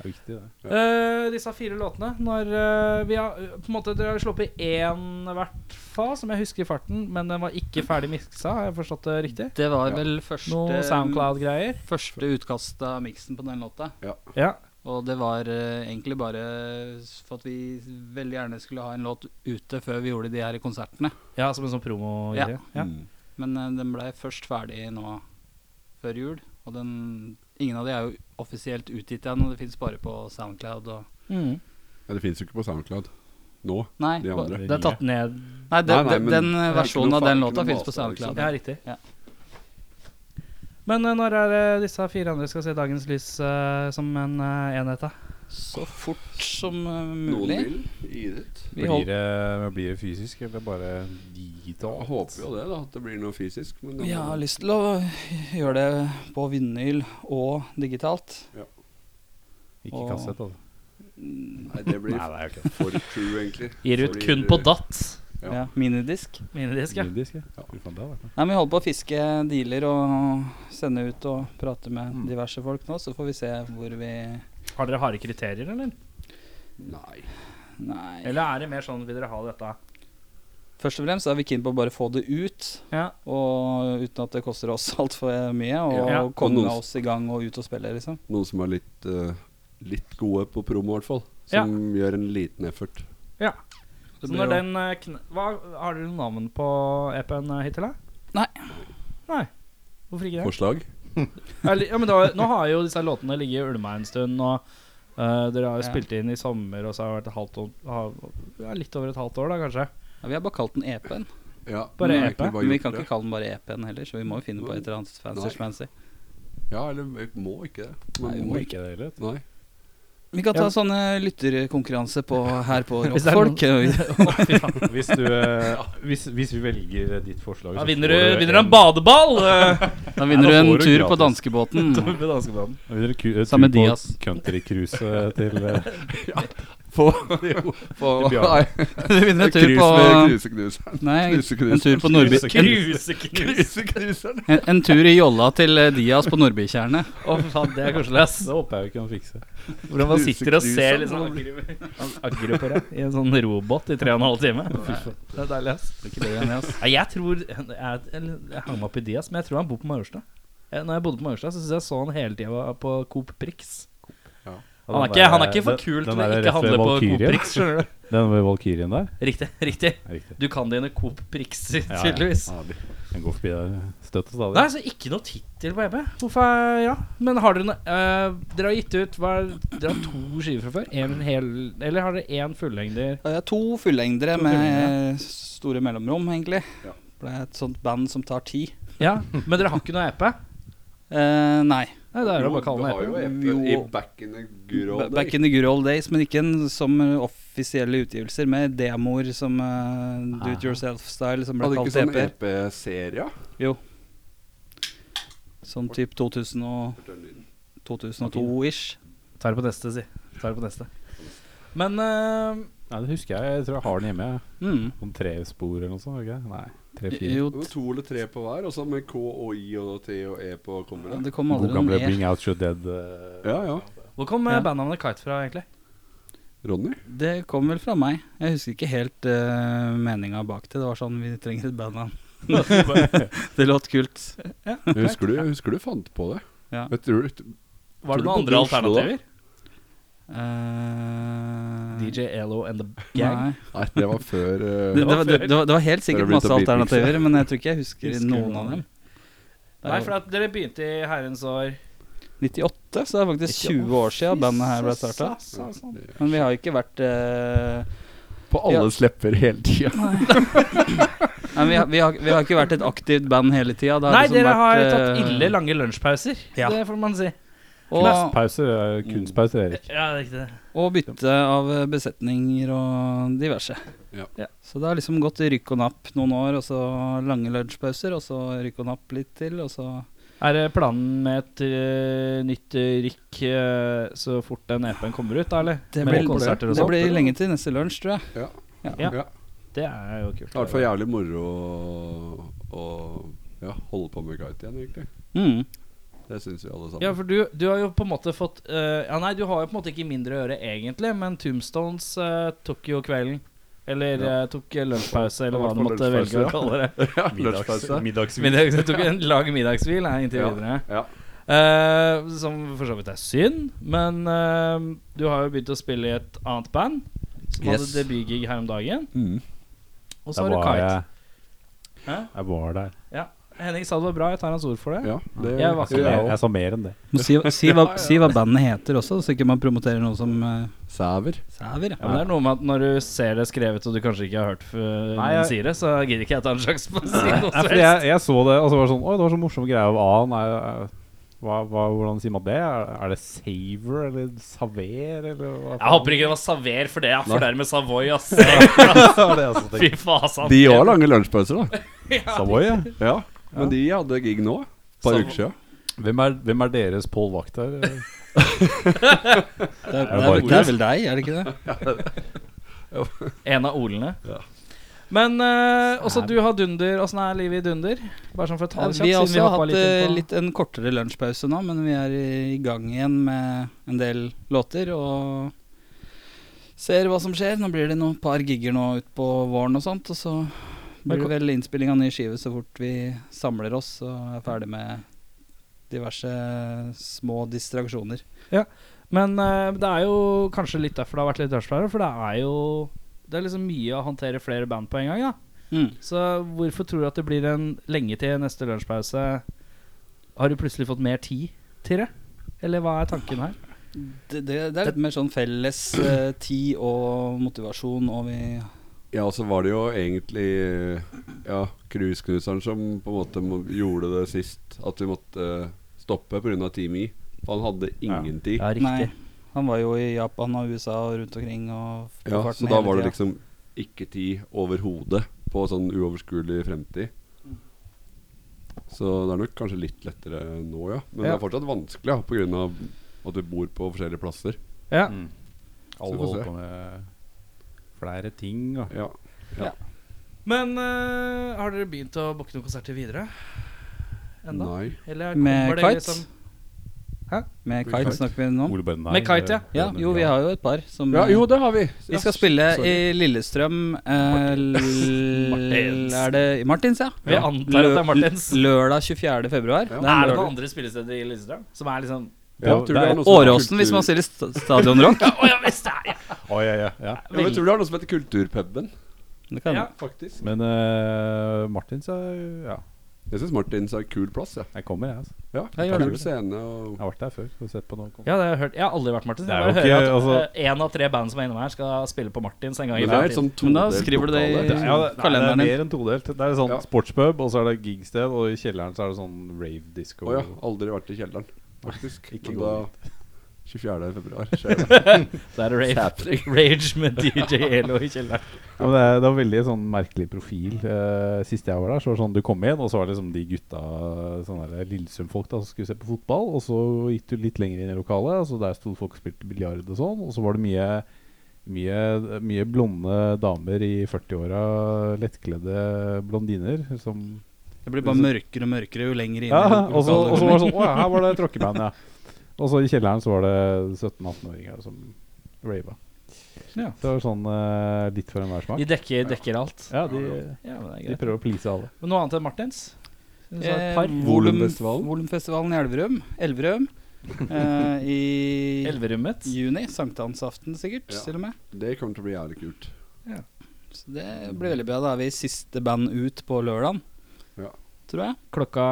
Det er viktig, det. Ja. Eh, disse fire låtene Når eh, vi har eh, På en måte Dere har sluppet én hvert fa, som jeg husker i farten, men den var ikke ferdig miksa, har jeg forstått det riktig? Det var Ja. vel første, Noe Soundcloud-greier? første utkast av miksen på den låta. Ja. Og det var eh, egentlig bare for at vi veldig gjerne skulle ha en låt ute før vi gjorde de her konsertene. ja, som en sånn promo-greie? Ja. Mm. Men eh, den blei først ferdig nå før jul. Og den, ingen av de er jo offisielt utgitt ennå. Det fins bare på Soundcloud og Mm. Ja, det fins jo ikke på SoundCloud nå. Nei, De på- andre. Det er tatt ned nei, den, Nei, nei, men den det eh, er ikke versjonen noe av den fa- ikke låta noe fins på master, liksom. Soundcloud. Ja, riktig. Ja. Men eh, når er det disse fire andre skal se dagens lys eh, som en eh, enhet, da? Så fort som eh, Noen mulig. vil gi det. Vi Blir holdt, det, blir det fysisk, eller bare Jeg digitalt? håper jo det, da, at det blir noe fysisk. Men det vi må- har lyst til å gjøre det på vinyl og digitalt. Ikke kassett, altså. Nei, det blir Nei, det er jo ikke det. for true, egentlig. Gir Så ut blir kun det- på datt. Ja. Ja, minidisk. Minidisk, ja. Indisk, ja. Fy faen, det hadde vært noe. Nei, men Vi holder på å fiske dealer og sende ut og prate med Mm. diverse folk nå. Så får vi se hvor vi Har dere harde kriterier, eller? eh, Nei. Nei. Eller er det mer sånn vil dere ha dette? Først og fremst er vi keen på å bare få det ut, Ja. og uten at det koster oss altfor mye. Og Ja. komme Og noen- oss i gang og ut og spille, liksom. Noen som er litt, eh, litt gode på promo, i hvert fall. Som gjør en liten effort. Det Så når blir jo- den eh, kn Hva Har dere noe navn på EP-en eh, hittil, da? Nei. Nei. Hvorfor ikke det? Forslag? Eller, ja, men da, nå har jo disse låtene ligget i ulma en stund, og eh, dere har jo Ja. spilt inn i sommer, og så har det vært et halvt år, ha, ja, litt over et halvt år, da, kanskje. Ja, vi har bare kalt den EP-en. Ja, Bare vi har EP? egentlig Men vi gjort kan det. ikke kalle den bare EP-en heller, så vi må jo finne på et eller annet fancy Nei. schmancy. Ja, eller vi må ikke det. Nei, Man vi må ikke det heller. Nei. Vi kan ta Ja. sånne lytterkonkurranse på, her på Hvis det er Rockfolk. Hvis, du, eh, hvis, hvis vi velger ditt forslag Da så vinner får du vinner du en- en badeball! eh. Da vinner du da en får du tur på gratis. danskebåten. Danskebåten. Da vinner du ku- eh, tur Sammen med på Diaz. Countrycruiset til eh, Få Få- Det blir Nei. Du vinner en tur Krus på med knuseknuseren. Nei, Knuseknuseren. en tur på Nordby Kruseknus! Knuseknuseren. en, en tur i jolla til eh, Dias på Nordbytjernet. Å, for faen, det er koselig, ass. Det håper jeg vi kan fikse. Hvordan man sitter og Knuseknuseren. ser liksom aggro- aggro på deg i en sånn robot i tre og en halv time. Det er deilig, ass. Det er ikke det, Andreas. Nei, jeg tror jeg, eller, jeg hang meg opp i Diaz, men jeg tror han bor på Majorstad. Eh, Når jeg bodde på Majorstad, så synes jeg så han hele tida på Coop Prix. Ja. Han er, Den ikke, han er der- ikke for den- kul den til å der ikke rett ved handle på Coop Valkyrien. Prix, skjønner du. Den med Valkyrien der? Riktig. riktig Er riktig. Du kan dine Coop Prix-er, Ja, ja. tydeligvis. Den går forbi der støtt og stadig. Nei, så ikke noe tittel på EB. Hvorfor er- Ja. Men har dere noe eh, Dere har gitt ut hva, er- Dere har to skiver fra før? En hel, eller har dere én fullengder? Ja, Det er to fullengdere To med fullengdere, eh, store mellomrom, egentlig. Ja. For Det er et sånt band som tar tid. Ja, men dere har ikke noe EP? Eh, nei. Nei, da er det bare å kalle Jo, den E EP. du har jo E Jo. EP i Back in the Good Ba- Old Back Day. in the good old days, men ikke en, som eh, offisielle utgivelser, med demoer som eh, do it yourself-style, som ble Hadde ikke kalt E sånn EP. EP-serie? Jo. Sånn type 2000 og 2002-ish. Tar det på neste, si. Tar det på neste. Men eh, Nei, det husker jeg. Jeg tror jeg har den hjemme. jeg. Mm. Om tre spor eller noe sånt? var det Ikke? Nei, tre-fire. Jo, Det var to eller tre på hver, og så med K og I og T og E på ja, kombinert. det kom God aldri noen gamle E. Bring Out Your Dead. eh, Ja, ja. hvor kom eh, Ja. bandnavnet Kite fra, egentlig? Ronny? Det kom vel fra meg. Jeg husker ikke helt uh, meninga bak det. Det var sånn Vi trenger et bandnavn. det låt kult. Jeg husker du, jeg husker du fant på det. Ja. Jeg tror du- Var Tror du det noen på andre Oslo, da? alternativer? Eh, DJ Elo and the Gang? Nei. Nei, det var før eh, Det, det, var, det, det, var, det var helt Før det sikkert begynte å masse beatmikse. alternativer, men jeg tror ikke jeg husker, Husker noen noen. av dem. Det Nei, er for at dere begynte i herrens år 98, så det er faktisk 20 år siden bandet her altså, ble starta. Men vi har jo ikke vært eh, På alles lepper hele tida. Nei, vi har, vi, har, vi har ikke vært et aktivt band hele tida. Det Nei, liksom dere har vært, tatt eh, ille lange lunsjpauser. Ja. Det får man si. Og, Pauser, eh, kunstpauser, Erik. Ja, det er riktig. og bytte av eh, besetninger og diverse. Ja. Ja. Så det har liksom gått rykk og napp noen år, og så lange lunsjpauser, og så rykk og napp litt til, og så Er det planen med et eh, nytt eh, rykk eh, så fort den EP-en kommer ut, da, eller? Det med blir- konserter og Det sånt? blir lenge til neste lunsj, tror jeg. Ja. Ja. Ja. Det er jo Det kult. er i hvert fall jævlig moro å- å ja, holde på med kite igjen, egentlig. Mm. Det syns vi alle sammen. Ja, for du, du har jo på en måte fått eh, Ja, nei, du har jo på en måte ikke mindre å gjøre egentlig, men Tombstones eh, tok jo kvelden. Eller Ja. eh, tok eh, lunsjpause, eller Det hva var du måtte lunsjpause, ja. velge å kalle det. Ja, lunsjpause. Middagsvideo. Middags, tok en lang middagshvil her inntil Ja. videre. Ja. Eh, som for så vidt er synd, men eh, du har jo begynt å spille i et annet band. Som Yes. hadde debutgig her om dagen. Mm. Og så Der har du var Kite. jeg. Hæ? Jeg var der. Henning sa det var bra, jeg tar hans ord for det. ja, det Jeg var Jeg, ikke gjør jeg, jeg jeg sa mer enn det. Må si, si, hva, si hva bandet heter også, så ikke man promoterer noe som eh, også. Sæver. Sæver. Men det er noe med at når du ser det skrevet og du kanskje ikke har hørt før Nei, noen jeg- sier det, så gidder ikke jeg ta en sjanse på å si noe Nei, som fordi helst. jeg, jeg så det, og så var det sånn Oi, det var så morsom greie av A. Nei, eh, hva, hva, hvordan sier man det? Er, er det saver eller saver eller hva Jeg håper ikke det var Saver for det, jeg Nei. fornærmer Savoy, ass. ikke det. Altså, Fy fasan. De har lange lunsjpauser, da. Savoy, ja. Ja. Men de hadde gig nå. Et par Sam- uker siden. Hvem er, hvem er deres Pål Vakt her? Det er, Er det det, er, vel- Borges? det er vel deg, er det ikke det? En av olene. Ja. Men eh, også du har dunder. Åssen er livet i dunder? Bare sånn for å ta det kjapt. vi har siden også hoppet hatt litt inn eh, på- litt en kortere lunsjpause nå, men vi er i i gang igjen med en del låter og ser hva som skjer. Nå blir det noen par gigger nå utpå våren og sånt, og så blir det vel innspilling av ny skive så fort vi samler oss og er ferdig med diverse små distraksjoner. Men eh, det er jo kanskje litt derfor det har vært litt dødsflare, for det er jo Det er liksom mye å håndtere flere band på en gang, da. Mm. Så hvorfor tror du at det blir en lenge til neste lunsjpause? Har du plutselig fått mer tid til det? Eller hva er tanken her? Det, det, det er litt mer sånn felles eh, tid og motivasjon, og vi Ja, og så var det jo egentlig eh, ja, cruiseknuseren som på en måte må- gjorde det sist. At vi måtte eh, stoppe pga. Team I. For han hadde ingen tid. Ja, Nei, riktig. han var jo i Japan og USA og rundt omkring. Og på Ja, farten så da hele var det tida. liksom ikke tid overhodet på sånn uoverskuelig fremtid. Mm. Så det er nok kanskje litt lettere nå, ja. Men det Ja. er fortsatt vanskelig ja, pga. at vi bor på forskjellige plasser. Ja. Mm. vi Alle får holder se. på med flere ting. Da. Ja. Men eh, har dere begynt å booke noen konserter videre? Enda? Nei. Eller Med kommer dere Kite? liksom Med Ole Kite Kite. snakker vi om. Ole Bønner, Med Kite, ja. eh, Ja, Bønner, jo, vi har jo et par som eh, Ja, jo, det har vi. Vi skal spille sorry. i Lillestrøm eh, Martins. l- Er det i Martins, ja? Vi antar at det er Martins. Lø- Lørdag 24. februar. Ja. Det er Er det lørdag. noen andre spillesteder i Lillestrøm som er liksom Ja, Ja, tror du det er noe som heter Åråsen, hvis man kultur- sier i sta- stadionrock. Å ja, visst det er ja. Å, ja, ja, ja. ja, men Jeg tror det er noe som heter Kulturpuben. Det kan Ja. ja. Faktisk. Men eh, Martins er Ja, Jeg syns Martins er en kul plass, jeg. jeg kommer, jeg. Altså. Ja, Ja, gjør kul det. scene og Jeg har vært der før. Og sett på noen konserter. Ja, det har jeg hørt. Jeg har aldri vært Martins. Det er Jeg bare jo hører ikke- at altså- eh, en av tre band som er innom her, skal spille på Martins en gang i Men det er et fremtiden. sånn Men da todelt skriver du det i- lokale. Det er, ja, det, nei, det Kalenderen er din. mer enn todelt. Det er sånn Ja. sportspub, og så er det gigsted, og i kjelleren så er det sånn rave disco. Å ja. Aldri vært i kjelleren, faktisk. Ikke Men gå da 24. februar skjer det. Det er rave, rage med DJ Elo i kjelleren. Ja, men det, er, det er veldig sånn merkelig profil. Eh, sist jeg var der, så var det sånn du kom inn, og så var det liksom de gutta sånne der eh, Lillesund-folk da, som skulle se på fotball. Og så gikk du litt lenger inn i lokalet, og så der sto folk og spilte biljard og sånn. Og så var det mye, mye, mye blonde damer i 40-åra, lettkledde blondiner som Det blir bare mørkere og mørkere jo lenger inn. i Ja, og så lokalet og så kommer. var det sånn Å ja, her var det tråkkeband, ja. Og så i kjelleren så var det 17-18-åringer som rava. Ja. Det var sånn eh, litt for enhver smak. De dekker, dekker alt. Ja, de, Ja, men det er de greit. prøver å please alle. Men noe annet enn Martins? Du sa et Eh, par. Volumfestivalen. Volumfestivalen i Elverum. Elverum. Eh, I Elverummet. juni. Sankthansaften, sikkert. Ja. Til og med. Det kommer til å bli jævlig kult. Så det blir veldig bra. Da er vi siste band ut på lørdagen, Ja. tror jeg. Klokka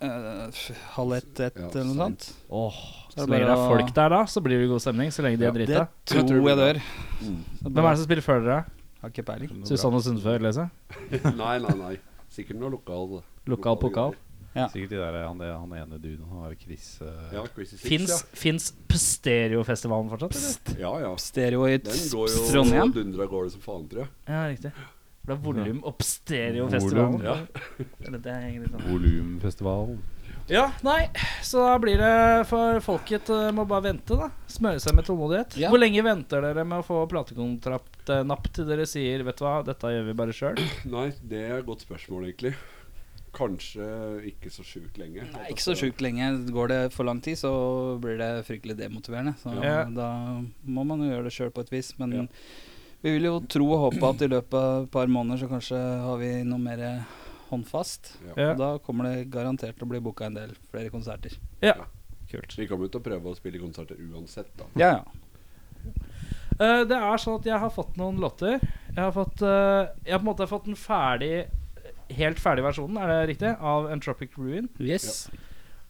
Eh, f- halv ett, ett Ja, eller noe sent. sånt. Åh, Så Så er det lenge det bare er å- folk der, da, så blir det god stemning. Så lenge de Ja, er drita. Det Jeg tror tror det jeg dør. Mm. Hvem er det som spiller før dere? Har ikke peiling. Susanne Sundfør, liksom? Nei, nei, nei. Sikkert noe lokal Lokal pokal. Sikkert de der, han, han ene duden, han er Chris eh, Ja, Crazy Six, Fins, fins Pstereofestivalen fortsatt, eller? ja. ja, ja. Stereo i Den går jo Trondheim. dundra går det som faen, tror jeg. Ja, riktig. For det er volum og Pstereofestivalen. Volum, Ja. Eller det henger litt sammen. Volumfestivalen. Ja, nei, så da blir det for folket eh, må bare vente, da. Smøre seg med tålmodighet. Ja. Hvor lenge venter dere med å få platekontrakt eh, napp til dere sier 'vet du hva, dette gjør vi bare sjøl'? Nei, det er et godt spørsmål, egentlig. Kanskje ikke så sjukt lenge. Nei, ikke så sjukt lenge. Går det for lang tid, så blir det fryktelig demotiverende. Så Ja. da må man jo gjøre det sjøl på et vis. Men Ja. vi vil jo tro og håpe at i løpet av et par måneder så kanskje har vi noe mer håndfast. Ja. Og da kommer det garantert til å bli booka en del flere konserter. Kult. Vi kommer jo til å prøve å spille konserter uansett, da. Ja, ja. Eh, det er sånn at jeg har fått noen låter. Jeg har fått eh, Jeg har på en måte fått den ferdig Helt ferdig versjonen, er det riktig? Av Entropic Ruin. Yes.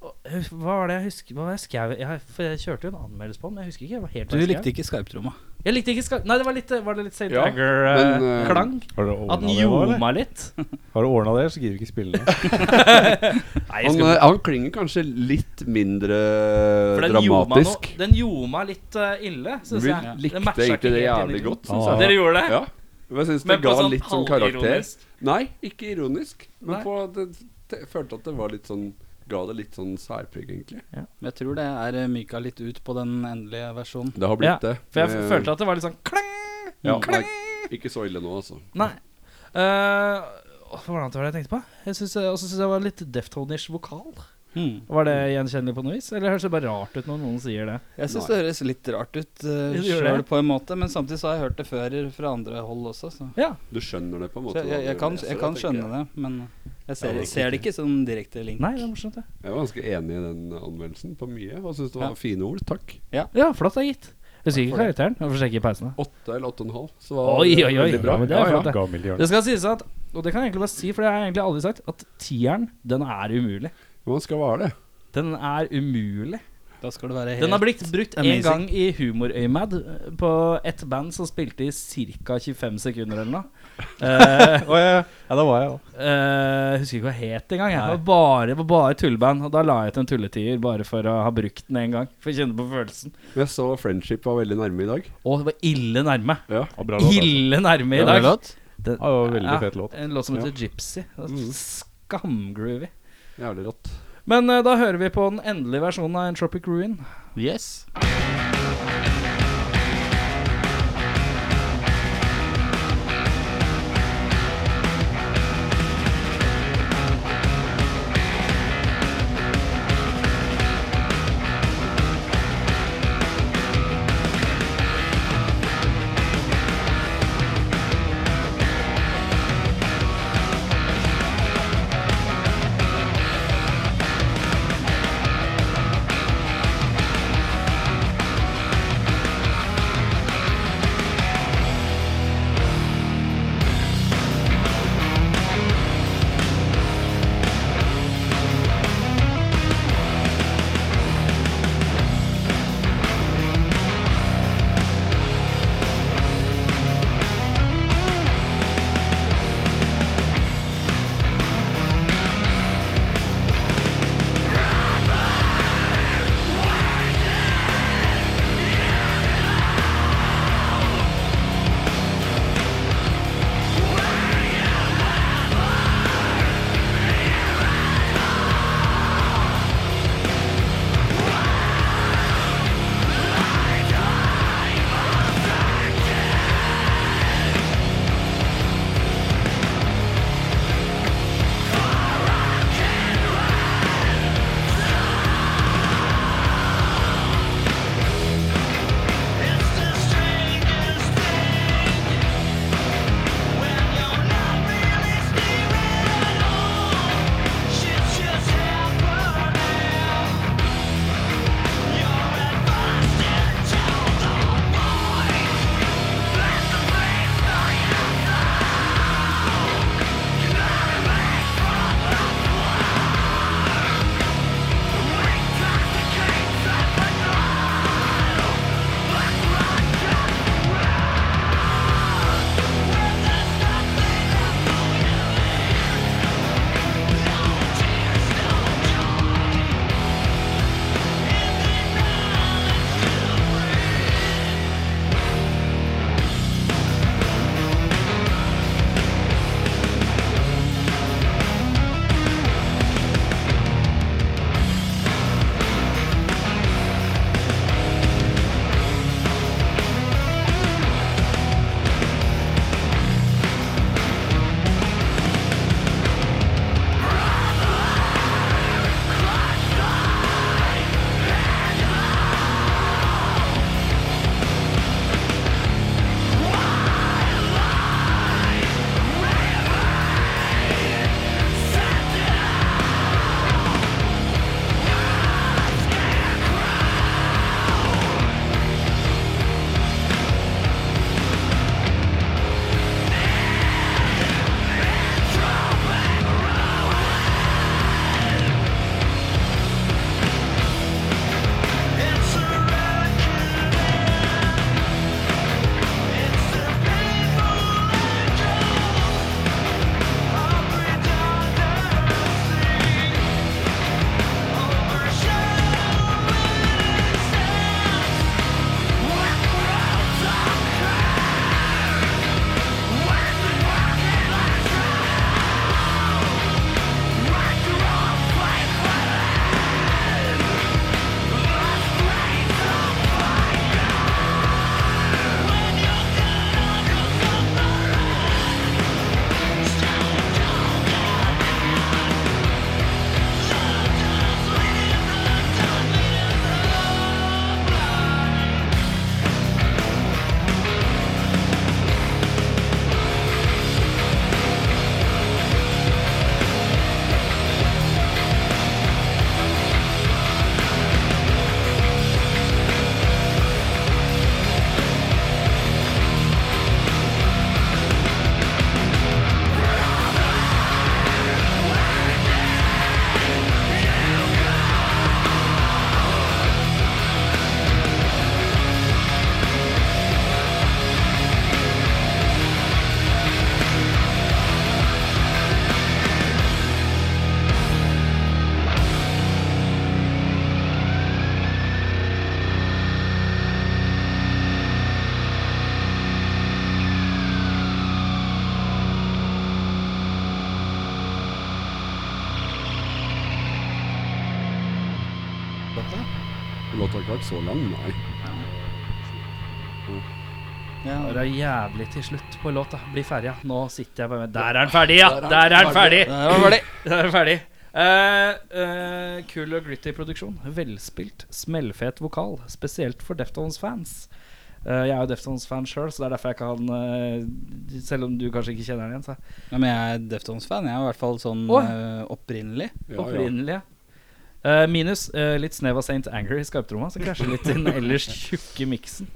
Og, eh, Hva var det jeg husker Hva var det jeg skrev jeg, For jeg kjørte jo en anmeldelse på den, men jeg husker ikke hva helt Du hva jeg skrev. likte ikke skarptromma. Jeg likte ikke skal... Nei, det var litt, eh, var det litt St. Ja, men, eh, Agger-klang. Har dere At ordna den det, nå, eller? ljoma litt. Har du ordnet det, så gidder vi ikke spille det. Nei, jeg Han, skulle- eh, han klinger kanskje litt mindre For den eh, dramatisk. Gjorde meg noe, den gjorde meg litt eh, ille, Vi syns jeg. likte matcha egentlig det helt inn i jævlig kroppen. godt, syns Ah. jeg. Dere gjorde det? Ja. Men jeg syns det Men på ga sånn litt sånn karakter. halvironisk. Nei, ikke ironisk. Men Nei. på at det, det, jeg følte at det var litt sånn Ga det litt sånn særpreg, egentlig. Men jeg tror det er eh, myka litt ut på den endelige versjonen. Det har Ja, blitt det. Eh, For jeg f- følte at det var litt sånn klang. ja, klang. nei, Ikke så ille nå, altså. Nei. Eh, åh, hvordan var det jeg tenkte på? Jeg synes, jeg- Og så syns jeg det var litt Deftone-ish vokal. Hmm. Var det gjenkjennelig på noe vis? Eller høres det bare rart ut når noen sier det? Jeg syns det høres litt rart ut uh, Ja, det gjør sjøl det. på en måte, men samtidig så har jeg hørt det før fra andre hold også. Så, Ja. Du skjønner det på en så måte. jeg, jeg, når du kan, leser jeg kan tenker skjønne det, men jeg Ja, ser, det er ser det ikke som direkte link. Nei, det er morsomt, det. Jeg var ganske enig i den anmeldelsen på mye. Og syns det var Ja. fine ord. Takk. Ja, flott da, gitt. Husker ikke for det. karakteren. Jeg får sjekke i pausen. da. Åtte eller åtte og en halv. Så var Oi, det oi, oi. veldig bra. Ja, men det er Ja, ja. flott, det. Gammel hjørne. Det skal sies at Og det kan jeg egentlig bare si, for det har jeg egentlig aldri sagt, at tieren, den er umulig. Men man skal være det. Den er umulig. Da skal det være helt Den har blitt brukt én amazing. gang i humorøyemed eh, på et band som spilte i ca. 25 sekunder eller noe. Eh, Å, ja, ja. ja, da var jeg òg. eh, husker ikke hva det het engang. jeg. Nei. Det var bare, det var bare tulleband. Og da la jeg ut en tulletier bare for å ha brukt den én gang. For å kjenne på følelsen. Jeg så Friendship var veldig nærme i dag. Å, det var ille nærme. Bra låt. Altså. Ille nærme i Bra dag. låt. Den, Ja, det var en veldig fet låt. En låt som heter Ja. Gypsy. Det var Mm. Skamgroovy. Jævlig rått. Men eh, da hører vi på den endelige versjonen av Entropic Ruin. Yes. dette? Låta har ikke vært så lang, nei. Ja. Det er jævlig til slutt på låta. Bli ferdig, ja. Nå sitter jeg bare med Der er den ferdig, ja! Der er den ferdig! Der var det. Der er den ferdig. Eh, eh, cool og gritty produksjon. Velspilt, smellfet vokal. Spesielt for Deftones-fans. Eh, jeg er jo Deftones-fan sjøl, så det er derfor jeg kan eh, Selv om du kanskje ikke kjenner den igjen, så Ja, men jeg er Deftones-fan. Jeg er i hvert fall sånn Åh. eh, opprinnelig. Ja, ja. opprinnelige. Eh, minus eh, litt snev av St. Anger i skarptromma, som krasjer litt i den ellers tjukke miksen.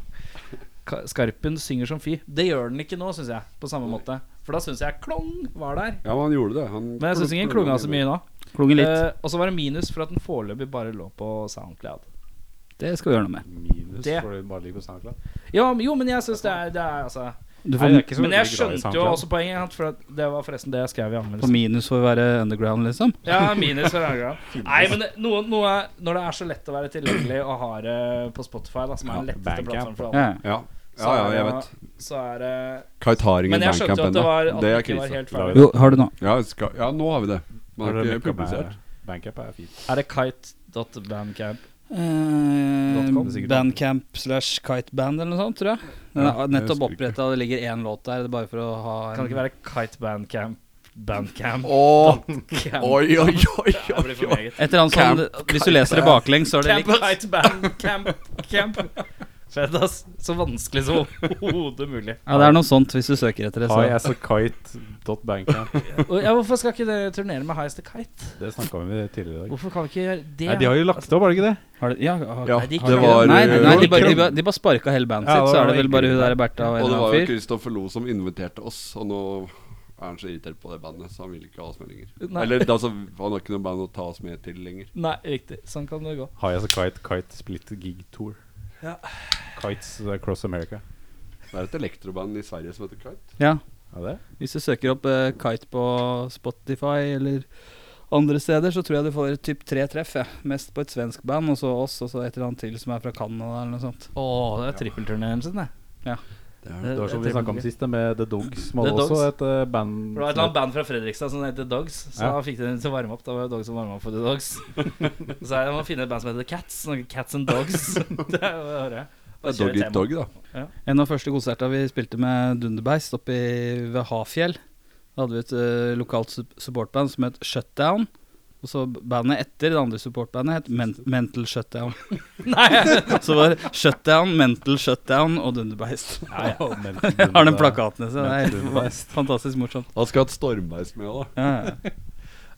Ka- Skarpen synger som fy. Det gjør den ikke nå, syns jeg. På samme måte. For da syns jeg klong var der. ja, men han gjorde det. Han Men jeg syns ikke den klunga så mye nå. Klunger litt. Eh, og så var det minus for at den foreløpig bare lå på SoundCloud. det skal vi gjøre noe med. Minus Det. for det bare ligger på SoundCloud. Ja, men- jo, men jeg syns det er, det er altså Du Nei, det får, er ikke så Men jeg veldig glad i skjønte jo SoundCloud. også poenget. sant, For at det var forresten det jeg skrev i på anmeldelsen. minus for å være underground, liksom. Ja, minus for Instagram. Nei, men det- noe, noe er, når det er så lett å være tilgjengelig og ha det på Spotify, da, som er den Ja, letteste Bandcamp. plattformen for alle, Ja. Ja, så ja, ja er jeg det- vet. Så er det Kajtaring i Men jeg Bandcamp skjønte jo at det ennå. var Det at det er ikke var krise. helt ferdig. Jo, har du nå. Ja, skal, ja, nå har vi det. Man har Har dere ikke publisert. Bandcamp er- Bandcamp er fint. Er det kite.bandcamp? Eh, .com, sikkert. Bandcamp slash kiteband eller noe sånt, tror jeg. Den Ja, er nettopp jeg husker ikke. oppretta, det ligger én låt der. Det er bare for å ha Kan det ikke være kitebandcamp? Bandcamp? Åh, Camp. Oi, oi, oi, Det blir oi, for oi. meget. Et eller annet sånn Hvis du leser det baklengs, så er det Camp, litt kite, band, camp, camp. Fett, ass. Så vanskelig som overhodet mulig. Ja, det er noe sånt hvis du søker etter det. Så. Highasakite.bandcamp. Og, ja, hvorfor skal ikke dere turnere med Highest the Kite? Det snakka vi med tidligere i dag. Hvorfor kan vi ikke gjøre det? Nei, de har jo lagt det opp, har de ikke det? Har du, ja, har, Ja, Nei, de- det Nei, var Nei, nei, nei det de, var bare, de, Krem. bare, de bare sparka hele bandet Ja, sitt, det så er var det vel bare hun egentlig- der Bertha og en Og det var jo annen fyr. Kristoffer Lo som inviterte oss, og nå er han så irritert på det bandet, så han vil ikke ha oss med lenger. Nei. Eller altså, han har ikke noe band å ta oss med til lenger. Nei, riktig. Sånn kan det gå. Highasakite Kite Split Gig Tour. Ja. Kites Across America. Det er et elektroband i Sverige som heter Kite. Ja, Er det? hvis du søker opp eh, Kite på Spotify eller andre steder, så tror jeg du får typ tre treff. Ja. Mest på et svensk band, og så oss, og så et eller annet til som er fra Canada eller noe sånt. Å, det er trippelturneen sin, det. Det er Det det. Det var som vi snakka om sist, det med The Dogs. Som The hadde også Dogs. et eh, band Det var et eller annet band fra Fredrikstad som heter Dogs. Så Ja. da fikk de den til å varme opp. Da var det Dogs som varma opp for The Dogs. så jeg må finne et band som heter The Cats. sånn Cats and Dogs. det er jo det hører jeg. Det er Dog Eat Dog, da. En av første konsertene vi spilte med Dunderbeist oppe i- ved Hafjell, da hadde vi et eh, lokalt sup- supportband som het Shutdown. Og så bandet etter det andre supportbandet het Men Mental Shutdown. Nei, Så var det Shutdown, Mental Shutdown og Dunderbeist. Ja, ja. Jeg har den plakaten i seg. Det er Mental helt Dunderbeist. fa- fantastisk morsomt. Han skal ha et stormbeist med, da. Ja, ja.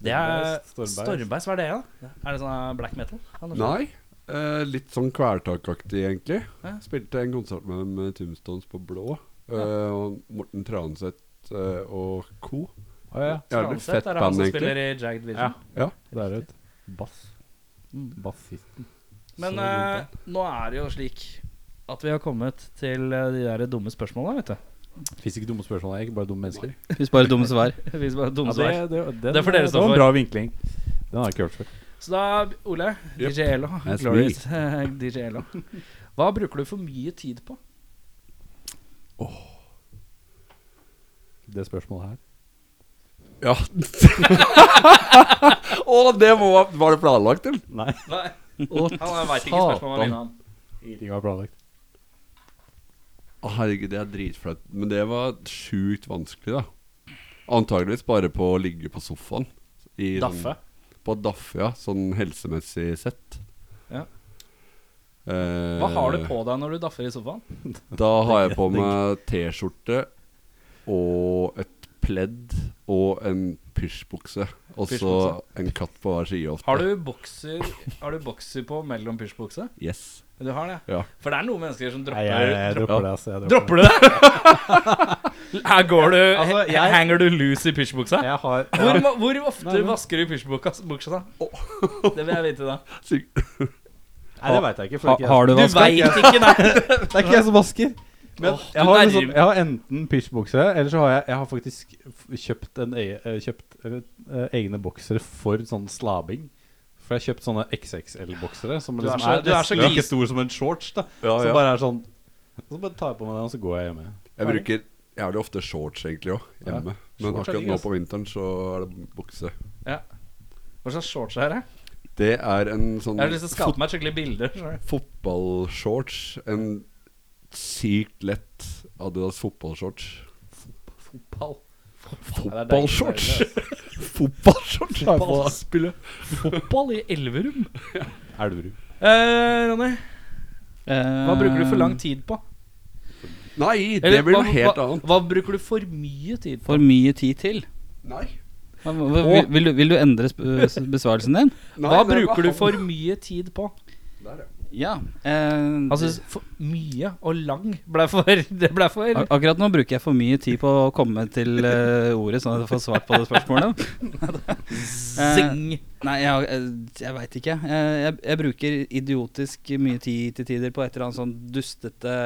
det er Stormbeis. Stormbeis. Hva er det, da? Er det sånn eh, black metal? Nei. eh, litt sånn kvelertakaktig, egentlig. Ja. Spilte en konsert med dem med Tombstones på blå. eh, og Morten Transeth eh, og co. eh, Å, ja. Jævlig fett er det han band, som egentlig. spiller i Jagged Vision. Ja. Ja. Det er et bass. Mm. Bassisten. Men Så rundt eh, nå er det jo slik at vi har kommet til eh, de der dumme spørsmåla, vet du. Fins ikke dumme spørsmål, jeg. Bare dumme mennesker. Hvis bare dumme svar. Vi som er dumme Ja, svar. det, Det er for dere som Det var får. en bra vinkling. Den har jeg ikke hørt før. Så da, Ole, Yep. DJ Elo, That's Glorious eh, DJ Elo. Hva bruker du for mye tid på? Det spørsmålet her. Ja. Å, det må, var det planlagt, eller? Nei. Nei. Han veit ikke spørsmålet satan. mine, han. Ingenting var planlagt. Å, herregud, det er dritflaut. Men det var sjukt vanskelig, da. Antageligvis bare på å ligge på sofaen. I Daffe. Sånn, på daffe, ja. Sånn helsemessig sett. Ja. Eh, Hva har du på deg når du daffer i sofaen? Da har jeg på meg T-skjorte og et pledd og en pysjbukse. Og så Pysjbukse. en katt på hver side ofte. Har du bokser, har du bokser på mellom pysjbukse? Yes. Du har det? Ja. For det er noen mennesker som Nei, dropper jeg, jeg dro- dropper det, altså. Jeg Dropper du det? Her går du Altså, jeg- Henger du loose i pysjbuksa? Jeg har Hvor, ma- hvor ofte Nei, men- vasker du pysjbuksa? da? Det vil jeg vite, da. Sykt. Nei, det veit jeg ikke. for Ha, det er ikke jeg har du Du vaska? veit ikke, nei. som- Det er ikke jeg som vasker. Men Åh, jeg du har, nærmer- liksom, jeg har enten pysjbukse, eller så har jeg, jeg har faktisk f- kjøpt, en, e- eh, kjøpt eller, eh, egne boksere for sånn slabing. For jeg har kjøpt sånne XXL-boksere som Du er liksom så- er, du er så nesten gris. like stor som en shorts. da Ja, Som ja. bare er sånn Så bare tar jeg på meg den, og så går jeg hjemme. Jeg bruker jævlig ofte shorts egentlig òg, Ja. hjemme. Shorts Men er akkurat digg, nå ass. på vinteren så er det bukse. Hva slags shorts er det? Det Det er en sånn Jeg har lyst til å skape meg et skikkelig bilde. fotballshorts. En sykt lett Adidas fotballshorts. Fotball. Fotballshorts! Fotballshorts! Fotball. Fotballspille. Fotball i Elverum. Elverum. Eh, Ronny, Eh, hva bruker du for lang tid på? Nei, Eh, det Eller blir noe hva- helt hva, annet. Hva bruker du for mye tid på? For mye tid til? Nei. Hva, hva, vil, vil, du, vil du endre sp- besvarelsen din? Nei, hva det var bruker du han. for mye tid på? Der, ja. Ja. Eh, Altså, for mye og lang ble for Det ble for Ak- Akkurat nå bruker jeg for mye tid på å komme til eh, ordet, sånn at jeg får svart på det spørsmålet. Eh, zing. Nei, jeg, eh, jeg veit ikke. Jeg, jeg, jeg bruker idiotisk mye tid til tider på et eller annet sånn dustete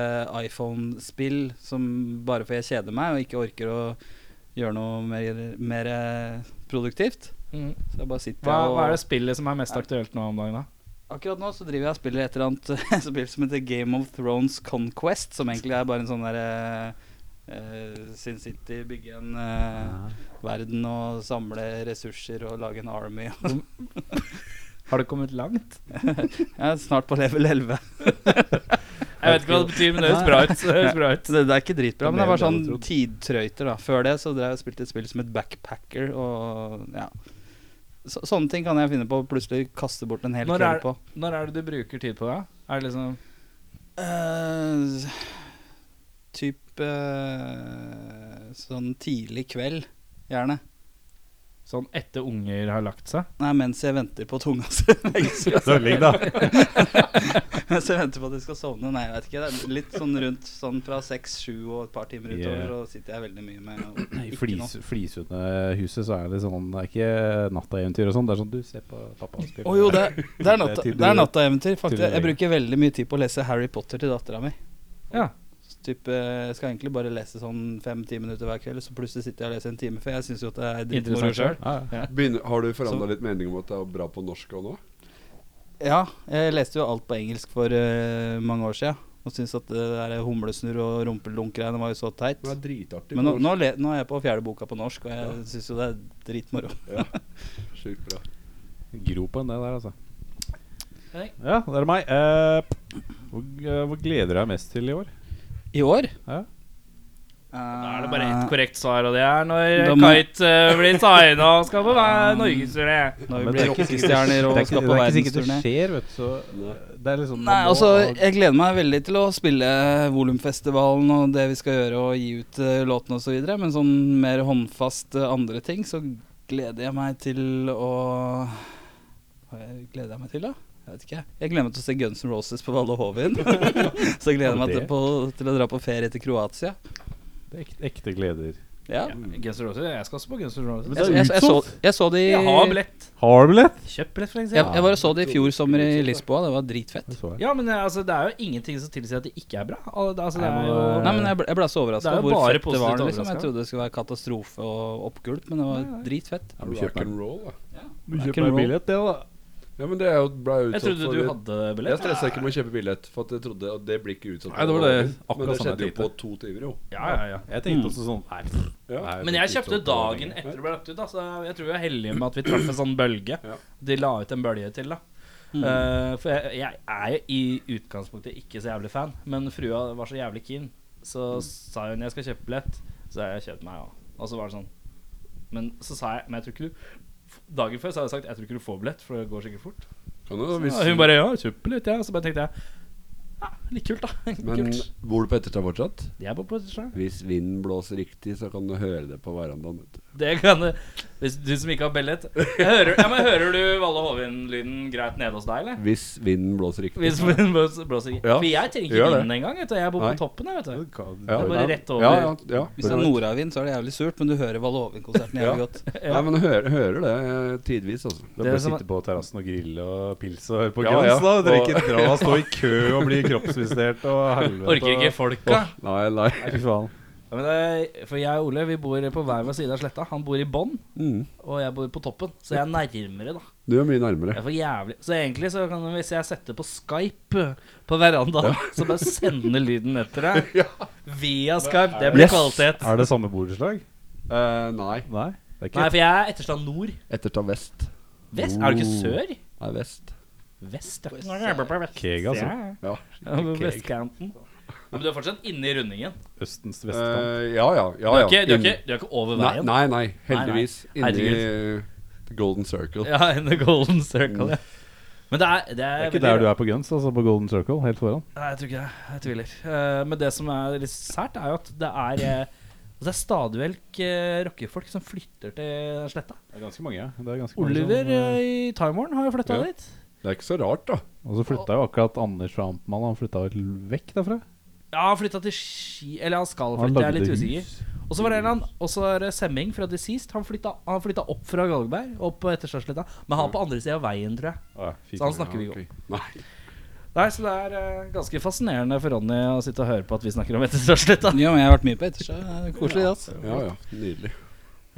iPhone-spill som bare for jeg kjeder meg og ikke orker å gjøre noe mer, mer eh, produktivt. Mm. Så jeg bare sitter Hva, og hva er det spillet som er mest aktuelt nå om dagen, da? Akkurat nå så driver jeg og spiller et eller annet spill som heter Game of Thrones Conquest, som egentlig er bare en sånn derre eh, Sin City, bygge en eh, verden og samle ressurser og lage en army. Har det kommet langt? Jeg er snart på level 11. Jeg vet ikke hva det betyr, men det høres bra ut. Det høres bra ut. Så det, det er ikke dritbra, men det var Mer enn sånn jeg hadde tidtrøyter, da. Før det så drev jeg og spilte et spill som het Backpacker, og ja. Så, sånne ting kan jeg finne på. Plutselig kaste bort en hel Når kveld er- på. Når er det du bruker tid på det? Er det liksom eh typ eh, sånn tidlig kveld, gjerne. sånn etter unger har lagt seg? Nei, mens jeg venter på at tunga skal legge seg. Sølving, da. Mens jeg venter på at jeg skal sovne. Nei, jeg vet ikke. Det er litt sånn rundt sånn fra seks, sju og et par timer utover, Yeah. og sitter jeg veldig mye med og I ikke flis, Flisundhuset så er det sånn Det er ikke nattaeventyr og sånn. Det er sånn du ser på pappa og spiller Å jo, det, det er natta- Det er til- det er nattaeventyr. Faktisk, til- jeg bruker veldig mye tid på å lese Harry Potter til dattera mi. Ja. Typ, eh, jeg skal egentlig bare lese sånn fem-ti minutter hver kveld, så plutselig sitter jeg og leser en time, for jeg syns jo at det er dritmoro Interessant sjøl. sjøl. Ja, ja. Begynner, har du Så- forandra litt mening om at det er bra på norsk òg nå? Ja, jeg leste jo alt på engelsk for eh, mange år siden. Og syntes at eh, det der humlesnurr og rumpeldunk-greiene var jo så teit. Det er dritartig. Men nå, på nå, le, nå er jeg på fjerde boka på norsk, og jeg syns jo det er dritmoro. norsk. Sjukt bra. Gropen, det der, altså. Hei. Ja, det er meg. Eh, hvor, eh, hvor gleder du deg mest til i år? I år Ja. Eh, Da er det bare ett korrekt svar, og det er når Da må- Kite eh, blir signa og skal på vei- norgesturné. Når vi Men blir rockestjerner og det er ikke, skal det på er ikke sikkert det verdensturné. skjer, vet du. Så det er liksom man Nei, må altså, ha- jeg gleder meg veldig til å spille Volumfestivalen og det vi skal gjøre, og gi ut eh, låtene og så videre men sånn mer håndfast eh, andre ting, så gleder jeg meg til å Hva jeg gleder jeg meg til, da? Jeg vet ikke. Jeg gleder meg til å se Guns N' Roses på Valle Hovin. så jeg gleder jeg meg til, Det? på, til å dra på ferie til Kroatia. Det er ekte, ekte gleder. Ja. Guns N' Roses, jeg skal også på Guns N' Roses. det Jeg, er jeg, jeg, så, utsolgt. jeg så de Jeg har billett. Har du billett? Kjøpt billett, for jeg, eksempel. jeg bare så de i fjor sommer i Lisboa. Det var dritfett. Det så jeg. Ja, men eh, altså, det er jo ingenting som tilsier at det ikke er bra. Al- Altså, det er Nei, men, jo eh, Nei, men jeg ble, jeg ble så Det overraska er jo hvor bare fett det var. positivt Liksom. Jeg overrasket. trodde det skulle være katastrofe og oppgulp, men det var Nei, nei. dritfett. Ja, du Rock kjøper and den. roll, da. Du Rock kjøper and meg roll. billett, det, da. Ja, men det er jo ble utsatt Jeg trodde for du hadde Jeg billett. stressa ikke med å kjøpe billett, for at jeg trodde at det blir ikke utsatt. Nei, det var det. Men Akkurat det samme skjedde jo tid. på to timer, jo. Ja, ja, ja. Jeg Mm. tenkte også sånn Nei. pff, Ja. Men nei, det jeg blir ikke kjøpte sånn på dagen lenge. etter det ble lagt ut, da, så jeg tror vi er heldige med at vi traff en sånn bølge. Ja. De la ut en bølge til, da. Eh, for jeg, jeg er jo i utgangspunktet ikke så jævlig fan, men frua var så jævlig keen. Så sa hun jeg skal kjøpe billett, så har jeg kjøpt meg, ja. Og så var det sånn. Men så sa jeg Men jeg tror ikke du Dagen før så hadde jeg sagt jeg tror ikke du får billett, for det går sikkert fort. Kan jo, Og hvis, hun bare ja, kjøp billett, ja. Så bare tenkte jeg ja, litt kult, da. men Kult. bor du på Etterstad fortsatt? De er på posisjon. Hvis vinden blåser riktig, så kan du høre det på verandaen. vet du. Det kan du Hvis du som ikke har billett jeg hører, ja, men hører du Valle Hovin-lyden greit nede hos deg, eller? Hvis vinden blåser riktig. Hvis den blåser blåser ikke Ja, For jeg trenger gjør ikke det. inn engang. vet du. Jeg bor på Nei. toppen. jeg, vet du Ja. Det er bare rett over. Ja, ja, ja. Hvis det er nordavind, så er det jævlig surt, men du hører Valovin-konserten Ja. jævlig godt. Nei, men du hører, hører det eh, tidvis, altså. Da Det bør er som- sitte på terrassen og grille og pils og høre på Ja, Guns, ja. da. Drikke Og- dra, stå i kø og bli kroppsvisitert og helvete. Orker ikke folka. Nei, nei. Nei, Fy faen. Ja, men det, er- for jeg og Ole vi bor på hver vår side av sletta. Han bor i bånn, Mm. og jeg bor på toppen. Så jeg er nærmere, da. Du er mye nærmere. Jeg får jævlig Så egentlig, så kan, hvis jeg setter på Skype på verandaen, så bare sende lyden ned til deg. Via Skype. Det blir Yes. kvalitet. Er det samme borettslag? Eh, nei. Nei. Det er ikke Nei, for jeg er Etterstad nord. Etterstad vest. Vest? Er du ikke sør? Nei, vest. Vest, ja. Keg, altså. Ja, Ja, på skikkelig keg. Vestkanten. Ja, men du er fortsatt inne i rundingen. Østens vestkant. Eh, ja, ja. ja, Du er ja. ikke, du er Inn- ikke, du er ikke over Nei, veien. nei, nei, heldigvis. Nei, nei. Inni eh, The Golden Circle. Ja, in the golden circle, ja. Men det er Det er, det er ikke der du er på Guns, altså på Golden Circle, helt foran. Nei, jeg tror ikke det. Jeg tviler. Eh, men det som er litt sært, er jo at det er eh, Det er stadig vekk eh, rockefolk som flytter til Sletta. Det er ganske mange, ja. Det er ganske Oliver mange som, eh, i Time Warn har jo flytta Ja. dit. Det er ikke så rart, da. eh, Og så flytta jo akkurat Anders fra Amtmann, han flytta vel vekk derfra? Ja, han flytta til Ski Eller han skal Han flytte, jeg er litt lagde usikker. hus. Og så var det en eller annen Og så er det Semming fra Deceased. Han flytta, han flytta opp fra Galgeberg, opp på Etterstadsletta. Men han er på andre sida av veien, tror jeg. Å, ja, fy Så han faen. snakker vi Ja, om. ok. Nei. Nei, så det er eh, ganske fascinerende for Ronny å sitte og høre på at vi snakker om Etterstadsletta. Ja, men jeg har vært mye på ettersjø. Det er Koselig, det, altså. Ja, ja.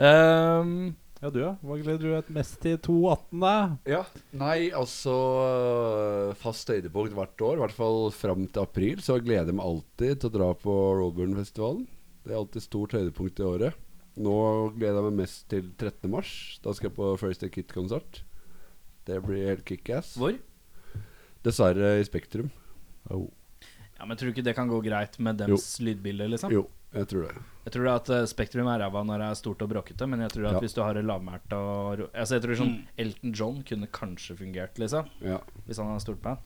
Nydelig. Um, Ja, du, ja. Hva gleder du deg mest til i 2018, da? Ja, Nei, altså øh, Fast høydepunkt hvert år, i hvert fall fram til april, så gleder jeg meg alltid til å dra på Roadburn-festivalen. Det er alltid stort høydepunkt i året. Nå gleder jeg meg mest til 13. mars. Da skal jeg på First Aid Kit-konsert. Det blir helt kickass. hvor? Dessverre i Spektrum. Oh. Ja, men Tror du ikke det kan gå greit med dems lydbilde? liksom? Jo, jeg tror det. Jeg tror at eh, Spektrum er ræva når det er stort og bråkete, men jeg tror at Ja. hvis du har det lavmælt og ro altså, Jeg tror sånn Elton John kunne kanskje fungert, liksom, Ja. hvis han har stort band.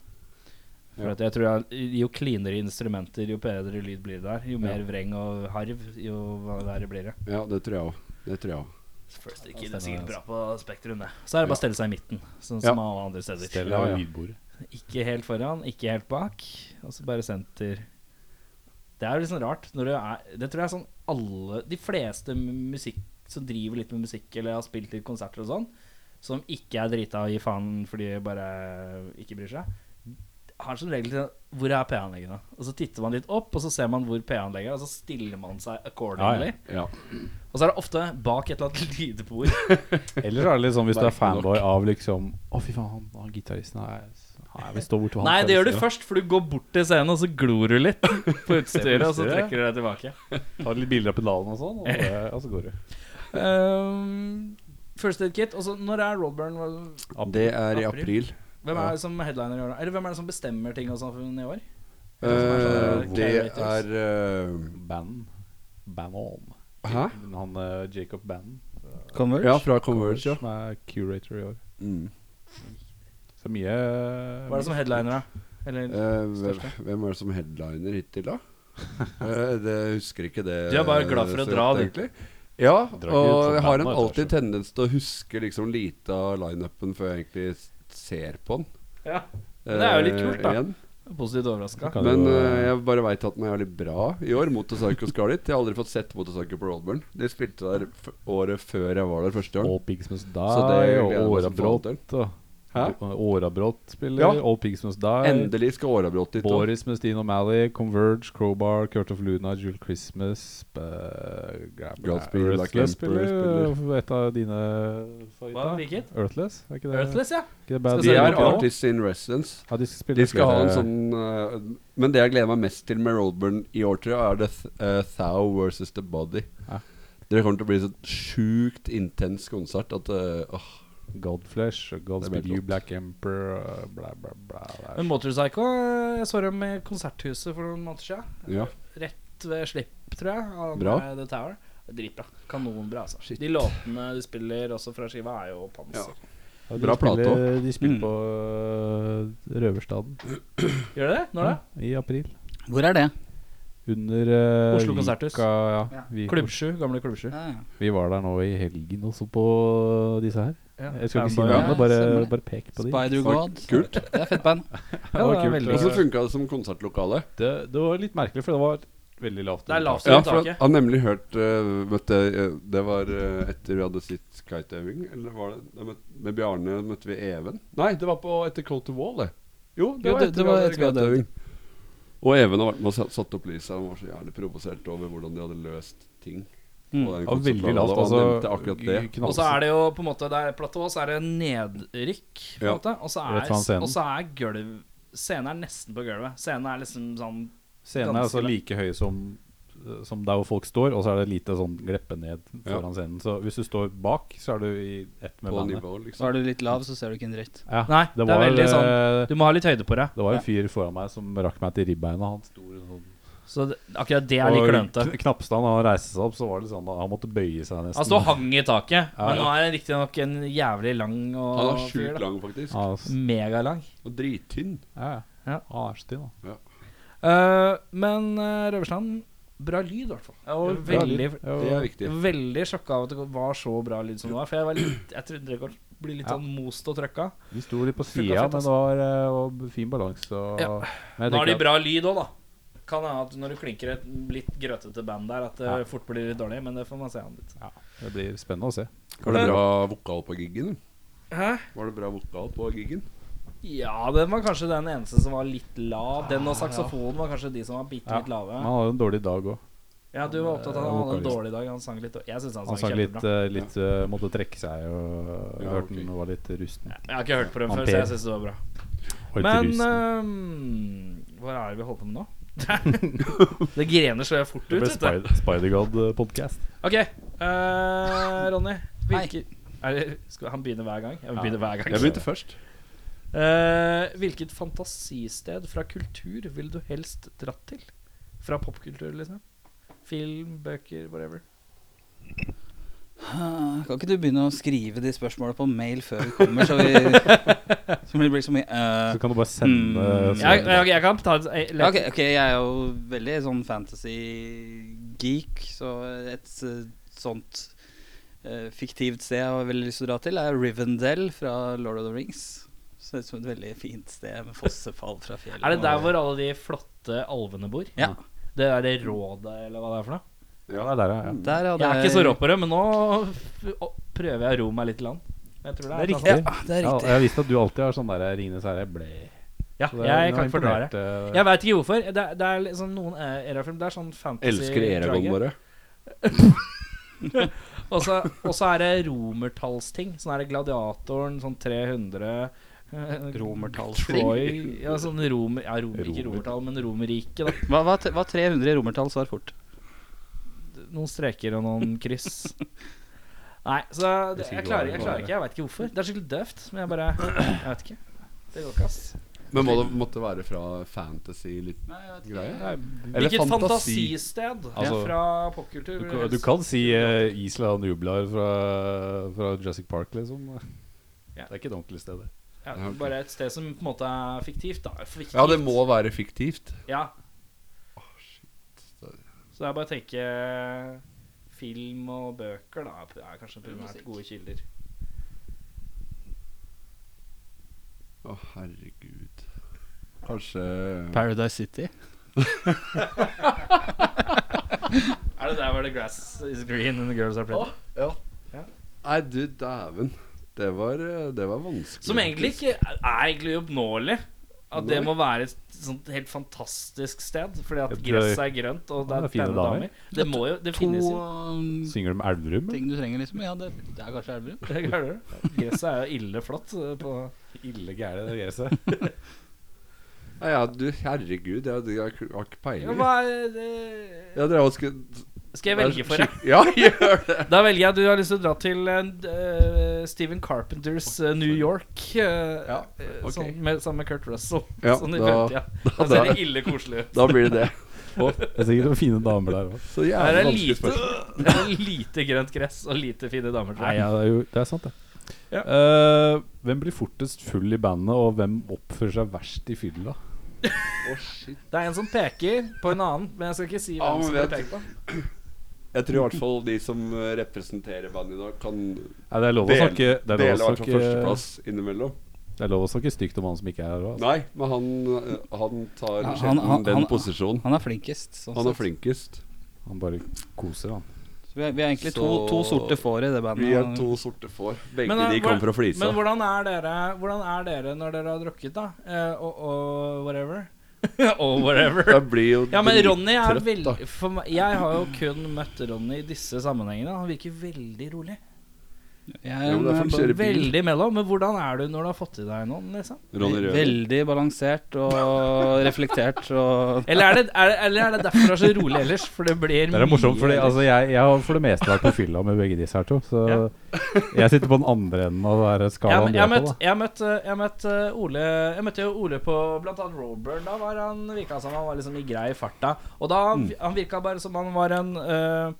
For Ja. at jeg tror at Jo cleanere instrumenter, jo bedre lyd blir det der. Jo mer Ja. vreng og harv, jo verre blir det. Ja, det tror jeg òg. Det tror jeg òg. First Ja, ikke, det er stemmer sikkert det, bra på Spektrum, det. Så er det bare å stelle seg i midten, sånn som Ja. alle andre steder. Stell Ja, deg ja. ved lydbordet. Ikke helt foran, ikke helt bak. Og så bare senter. Det er jo litt sånn rart. Når det, er, det tror jeg er sånn alle De fleste musikk, som driver litt med musikk eller har spilt litt konserter og sånn, som ikke er drita og gir faen fordi de bare ikke bryr seg, har som regel sånn, Hvor er PA-anleggene? Og så titter man litt opp, og så ser man hvor PA-anlegget er, og så stiller man seg accordingly. Ja. Og så er det ofte bak et eller annet lydbord. Eller er det litt sånn hvis du er Merkelig nok. fanboy av liksom Å, fy faen, han, han gitaristen er Nei, vi står bort til han. Nei, det gjør du Ja. først, for du går bort til scenen, og så glor du litt på utstyret, og så trekker utstyret. du deg tilbake. Tar litt bilder av pedalen og sånn, og, det- og så går du. Um, First Aid Kit. Og så når er Rodburn Hva- Det er i April. april. Hvem er det som headliner i år? da? Eller hvem er det som bestemmer ting og sånn i år? Eh, sånn det Claritas. er Band. Band on. eh, Hæ? Han eh, Jacob Band, Converge. Ja, fra Converge, ja. som er curator i år. Mm. Så mye Hva er det som headliner, da? Eller Eh, hvem, Største. hvem er det som headliner hittil, da? Eh, det jeg husker ikke det Du er bare glad for å så dra, godt, du. egentlig. Ja, Drar ikke ut og for jeg har en bandet, alltid kanskje. tendens til å huske liksom lite av lineupen før jeg egentlig s- ser på den. Ja. Men det er jo litt kult, da. Eh, igjen. Positivt overraska. Kan Men jo, eh, eh, jeg bare veit at den er jævlig bra i år. Motorpsycho skal dit. Jeg har aldri fått sett Motorpsycho på Roadburn. De spilte der f året før jeg var der første gang. All Pigs Must Die Så det gleder og jeg meg som Årabrott. faen og- Hæ? Årabrott spiller. Ja. All Pigs Must Die. Endelig skal Årabrott dit. da. Boris med Steen O'Malley, Converge, Crowbar, Kurt of Luna, Jule Christmas uh, Godspeed, Black Emperor Earthless spiller spiller. uh, et av dine Hva, favoritter. hvilket? Earthless? Er ikke det, Earthless, ja. Ikke det Skal band? De jeg er se på? artists in residence. Ja, de skal spille De skal ha en flere- sånn eh, Men det jeg gleder meg mest til med Roadburn i år, tror jeg, er The th eh, Thou versus The Body. Ja. Det kommer til å bli så sjukt intens konsert at eh, åh, Godflesh, Godspeed Det blir You, flott. Black Emperor, uh, bla, bla, bla. det er- Men Motorpsycho eh, Jeg så dem i Konserthuset for noen måneder siden. Ja. Rett ved slipp, tror jeg. Av Bra. eh, The Tower. Dritbra. Kanonbra, altså. Shit. De låtene de spiller også fra skiva, er jo panser. Ja, bra de spiller, plate også. De spiller Mm. på uh, Røverstaden Gjør det det? Når da? ja, i april. Hvor er det? Under uh, Oslo Konserthus. Vika, ja. Ja. Vi, Klubb 7, gamle Klubb 7. Ja, ja. vi var der nå i helgen også på disse her. Jeg skal ikke si Fanboy. noe, Ja, annet, bare, stemmer det. bare pek på de. Spider Fuck, God. kult. Det er fett band. Ja, det var kult, veldig det Åssen funka det som konsertlokale? Det, det var litt merkelig, for det var veldig lavt. Det er lavt. Så Ja, det for taket. jeg har nemlig hørt eh, møtte, eh, Det var eh, etter vi hadde sitt kiteøving, eller var det da møt, Med Bjarne møtte vi Even? Nei, det var på etter Coat to Wall, det. Jo, det Jo, var det- etter det vi var hadde etter vi hadde kiteøving. Og Even har vært med og satt- satt opp lyset. Han var så jævlig provosert over hvordan de hadde løst ting. Mm. på den Det var veldig konsertlokalen, lavt. og han Altså, nevnte akkurat det. Og så er det jo på en måte Der platå så er det nedrykk, på en Ja. måte. Og så Rett foran er, scenen. og så er gulv Scenen er nesten på gulvet. Scenen er liksom sånn Scenen er altså ganske like høy som eh, som der hvor folk står, og så er det lite sånn gleppe ned foran scenen. Så hvis du står bak, så er du i ett med På bandet. nivå, Så liksom. er du litt lav, så ser du ikke en dritt. Ja, Nei, det er veldig sånn- eh, Du må ha litt høyde på deg. Det var Ja. en fyr foran meg som rakk meg til ribbeina. Han sto sånn Så det, akkurat det er litt klønete. Og kn- Knappstand, han reiste seg opp, så var det sånn at han måtte bøye seg nesten. Han står og Altså, hang i taket, Ja, men ja. nå er det riktignok en jævlig lang og Han er fyr, sjukt da. lang, faktisk. Ja, ass. Megalang. Og drittynn. Ja, Mm. Ja. ja. Han er så tynn, da. Eh, men uh, Røversland, bra lyd, i hvert fall. Jeg var Bra veldig, lyd. Ja, Mm. Det er viktig. veldig sjokka av at det var så bra lyd som det var. For jeg, var litt, jeg trodde det kom til å bli litt Ja. sånn most og trøkka. Vi sto litt på Funka sida, fett, men ass. det var eh, og fin balanse. og- Ja. Men jeg Nå har de tenker at- bra lyd òg, da. Kan hende at når du klinker et litt grøtete band der, at det Ja. fort blir litt dårlig, men det får man se an litt. Det blir spennende å se. Var det bra vokal på giggen? Hæ? Var det bra vokal på giggen? Ja, den var kanskje den eneste som var litt lav. Den og saksofonen var kanskje de som var bitte Ah, Ja. litt lave. Men han hadde en dårlig dag òg. Ja, du var opptatt av at han hadde en Vokalist. dårlig dag. Han sang litt Jeg syns han, Han sang sang litt, kjempebra. eh, litt eh, Måtte trekke seg og jeg Ja, hørte ok. han var litt rusten. Jeg har ikke hørt på dem eh, Han før, Per. så jeg syns det var bra. Var litt Men eh, rusten. øhm, hva er det vi holder på med nå? det grener så fort ut. det ble vet du. Spider- Spider-God-podkast. Ok, eh, Ronny. Hvilke, er det, skal han begynne hver gang? Jeg må Ja. begynne hver gang. Jeg begynte først. Eh, hvilket fantasisted fra kultur ville du helst dratt til? Fra popkultur, liksom? Film, bøker, whatever. Ah, Kan ikke du begynne å skrive de spørsmålene på mail før vi kommer, så vi Så det blir så mye eh, Så kan du bare sende Mm. så- Jeg, jeg, jeg kan ta et eh, ja, le- ok, ok, jeg er jo veldig sånn fantasy-geek, så et eh, sånt eh, fiktivt sted jeg har veldig lyst til å dra til, er Rivendell fra Lord of the Rings. Ser ut som et veldig fint sted med fossefall fra fjellet. Er det der hvor alle de flotte alvene bor? Ja. Det er det rådet, eller hva det er for noe? Ja, det er der, ja. ja. Der hadde Jeg er ikke så rå på det, men nå f- å- prøver jeg å ro meg litt i land. Jeg tror det er, riktig. Ja, det er Ja, riktig. jeg visste at du alltid har sånn der Ringenes herre ble Ja, jeg kan ikke fordra det. eh, Jeg veit ikke hvorfor. Det, er- det er liksom noen eh, erafilm Det er sånn fantasy Elsker Eragon bare. Og så og så er det romertallsting. Sånn er det Gladiatoren, sånn 300 eh, Troy Ja, sånn romer... Ja, romer, ikke Romer. romertall, men Romerriket, da. Hva, hva, hva 300 i romertall svar fort? Noen streker og noen kryss. Nei, så det, jeg, klarer, jeg klarer ikke. Jeg veit ikke hvorfor. Det er skikkelig døvt, men jeg bare Jeg vet ikke. Det går ikke, ass. Men må det måtte være fra fantasy litt greie? Eller Hvilket fantasi. fantasisted Altså, fra popkultur? Du, vil kan- helst- du kan si eh, Isla Nublar fra, fra Jurassic Park, liksom. Ja. Det er ikke et ordentlig sted. det. ja, Bare et sted som på en måte er fiktivt, da. Fiktivt. Ja, det må være fiktivt. Ja. Sorry. Så det er bare å tenke film og bøker, da. Er kanskje primært gode kilder. Å, herregud. Kanskje Paradise City. Er det der hvor the grass is green and the girls are pretty? Ja. Ja. Nei, du dæven. Det var, eh, det var vanskelig. Som egentlig ikke er er egentlig oppnåelig. At det Nei. må være et sånt helt fantastisk sted, fordi at Et, gresset er grønt og det Ja, er det er fine pene damer. damer. Det må jo Det To finnes jo. um, Synger de Elverum? eller? ting du trenger, liksom. Ja, det, det er kanskje Elverum. Det klarer du. Gresset er jo ille flott. eh, På Ille gære, det gresset. Nei, ja, du, herregud. Jeg, jeg har ikke ja, peiling. hva er det? Jeg drev og skulle Skal jeg velge for deg? Ja, gjør det! Da velger jeg at du har lyst til å dra til eh, Steven Carpenters eh, New York. eh, Ja, eh, ok. sånn med, sammen med Kurt Russell. Ja, sånn i da- fremtida. da- Da ser det ille koselig ut. Da blir det det. Det er sikkert noen fine damer der òg. Så Her jævlig er vanskelig lite, spørsmål. det er lite grønt gress og lite fine damer. tror Nei, jeg. ja, det, er jo, det er sant, det. Ja. Eh, hvem blir fortest full i bandet, og hvem oppfører seg verst i fylla? Å, shit. Det er en som peker på en annen, men jeg skal ikke si Ja, hvem men som vet- blir pekt på. Jeg tror i hvert fall de som eh, representerer bandet i dag, kan Nei, det er lov å Del- snakke Det er dele i lov å hvert fall snakke, førsteplass innimellom. det er lov å snakke stygt om han som ikke er her òg. Nei, men han, eh, han tar Ja, han- sjelden han- den han- posisjonen. Han er flinkest. Sånn Han er sett. flinkest. Han bare koser, han. Så vi, er, vi er egentlig to, Så- to sorte får i det bandet. Vi er to sorte får. Begge eh, de kom fra hvordan- Flisa. men hvordan er, dere, hvordan er dere når dere har drukket, da? Eh, og, og whatever? og whatever. Jeg blir jo Ja, men drittrøtt, Ronny er da. veldig for meg, Jeg har jo kun møtt Ronny i disse sammenhengene. Han virker veldig rolig. Jeg Jo, er men det er forskjellig. med på Kjøre bil. Veldig mellom. Men hvordan er du når du har fått i deg noen, liksom? Ronny Rød. Veldig balansert og reflektert og Eller er det, er det, eller er det derfor du er så rolig ellers? For det blir Det er morsomt, mye for ellers. altså, jeg, jeg har for det meste vært på fylla med begge disse her to. Så jeg sitter på den andre enden av det her jeg, skalaen du jeg, er møtt, på. da jeg, møtt, jeg, møtt eh, Ole, jeg møtte jo Ole på blant annet Roadburn. Da var han virka som han var liksom i grei farta. Og da Mm. han virka bare som han var en eh,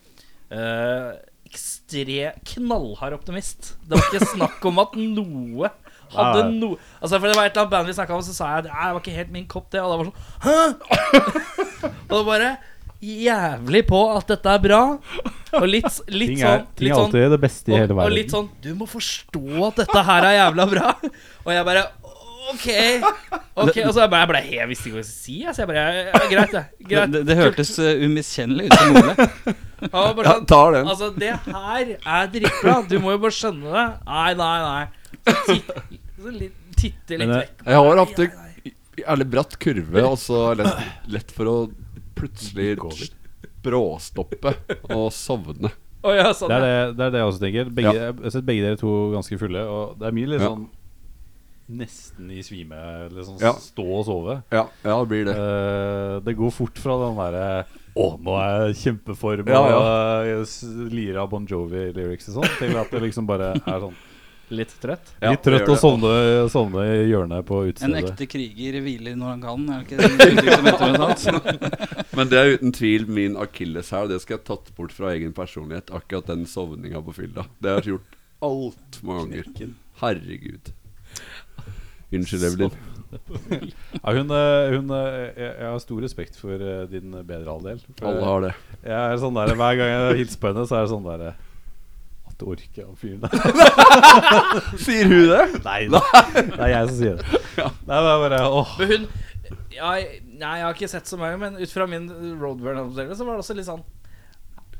eh, ekstre, knallhard optimist. Det var ikke snakk om at noe hadde Nei. noe Altså For det var et eller annet band vi snakka om, og så sa jeg at "Nei, det var ikke helt min kopp, det. Og da var det sånn Hæ? og det bare jævlig på at dette er bra. Og litt, litt Ting sånn er, ting litt er sånn alltid det beste i og, hele verden. og litt sånn Du må forstå at dette her er jævla bra. Og jeg bare OK. ok Og så jeg bare, jeg, bare, jeg visste ikke hva jeg skulle si. altså. jeg, Så jeg bare ja, Greit, det. Det, Greit. det, det hørtes eh, umiskjennelig ut som Ole. Han var bare Ja, sånn, tar den. altså, det her er dritbra. Du må jo bare skjønne det. Nei, nei, nei. Så titt- så litt- Titte litt Men, eh, vekk. Jeg har hatt en jævlig bratt kurve, og så er det lett, lett for å plutselig Gå over. bråstoppe og sovne. Å ja, sånn. Det er ja. det, det er det jeg også tenker. Begge, Jeg har sett begge dere to ganske fulle, og det er mye litt Ja. sånn Nesten i svime. Liksom Ja. stå og sove. Ja, ja det blir det. Eh, det går fort fra den derre Å, nå er jeg i kjempeform Ja, ja. og eh, s- lirer av Bon Jovi-lyrics og sånn, til at det liksom bare er sånn Litt trøtt. Ja, Litt det trøtt gjør og sovne, sovne i hjørnet på En utestedet. ekte kriger hviler når han kan. Er det ikke det uttrykk som heter noe sånt? Men det er uten tvil min akilleshæl. Det skal jeg tatt bort fra egen personlighet. Akkurat den sovninga på fylla. Det har jeg gjort altfor mange ganger. Herregud. Unnskyld, Evelyn. Ja, hun, eh, hun, eh, jeg, jeg har stor respekt for eh, din bedre halvdel. For Alle har det. Jeg er sånn der, Hver gang jeg hilser på henne, så er det sånn derre At du orker han fyren der. Sier hun det? Nei, da. det er jeg som sier det. Nei, det er bare åh. Men hun jeg, Nei, jeg har ikke sett så mange, men ut fra min roadburn-opplevelse så var det også litt sånn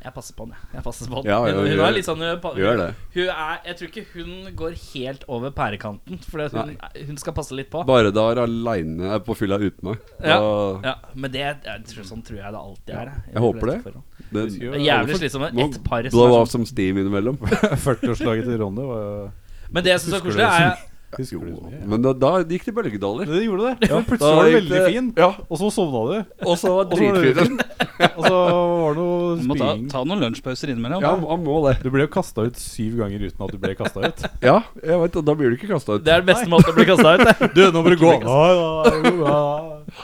Jeg passer på den, jeg. jeg passer på den. Ja, ja, hun, hun gjør- er litt sånn hun, pa- gjør det. Hun er, jeg tror ikke hun går helt over pærekanten, for hun, hun skal passe litt på. Bare da er aleine er på fylla uten meg. Da, Ja, men det jeg tror, sånn tror jeg det alltid er. jeg håper det. det, Husker jo Det er jævlig slitsomt med Må ett par som Blow er av som steam innimellom. 40-årslaget til Ronny var jo sånn- Men det jeg syns er Husker koselig, du er Husker du så mye? Ja. Men da, da gikk det i bølgedaler. Det gjorde det. Ja, Da plutselig var du gikk veldig fin, Ja, og så sovna du. og så var Og så var det dritfin. Og så var det noe Du må ta, spying. ta noen lunsjpauser innimellom. Ja, han må det. Du ble jo kasta ut syv ganger uten at du ble kasta ut. Ja, jeg vet, det, da blir du ikke kasta ut. det er den beste måten å bli kasta ut det. Du, nå må du gå! Ja, ja, jo, ja.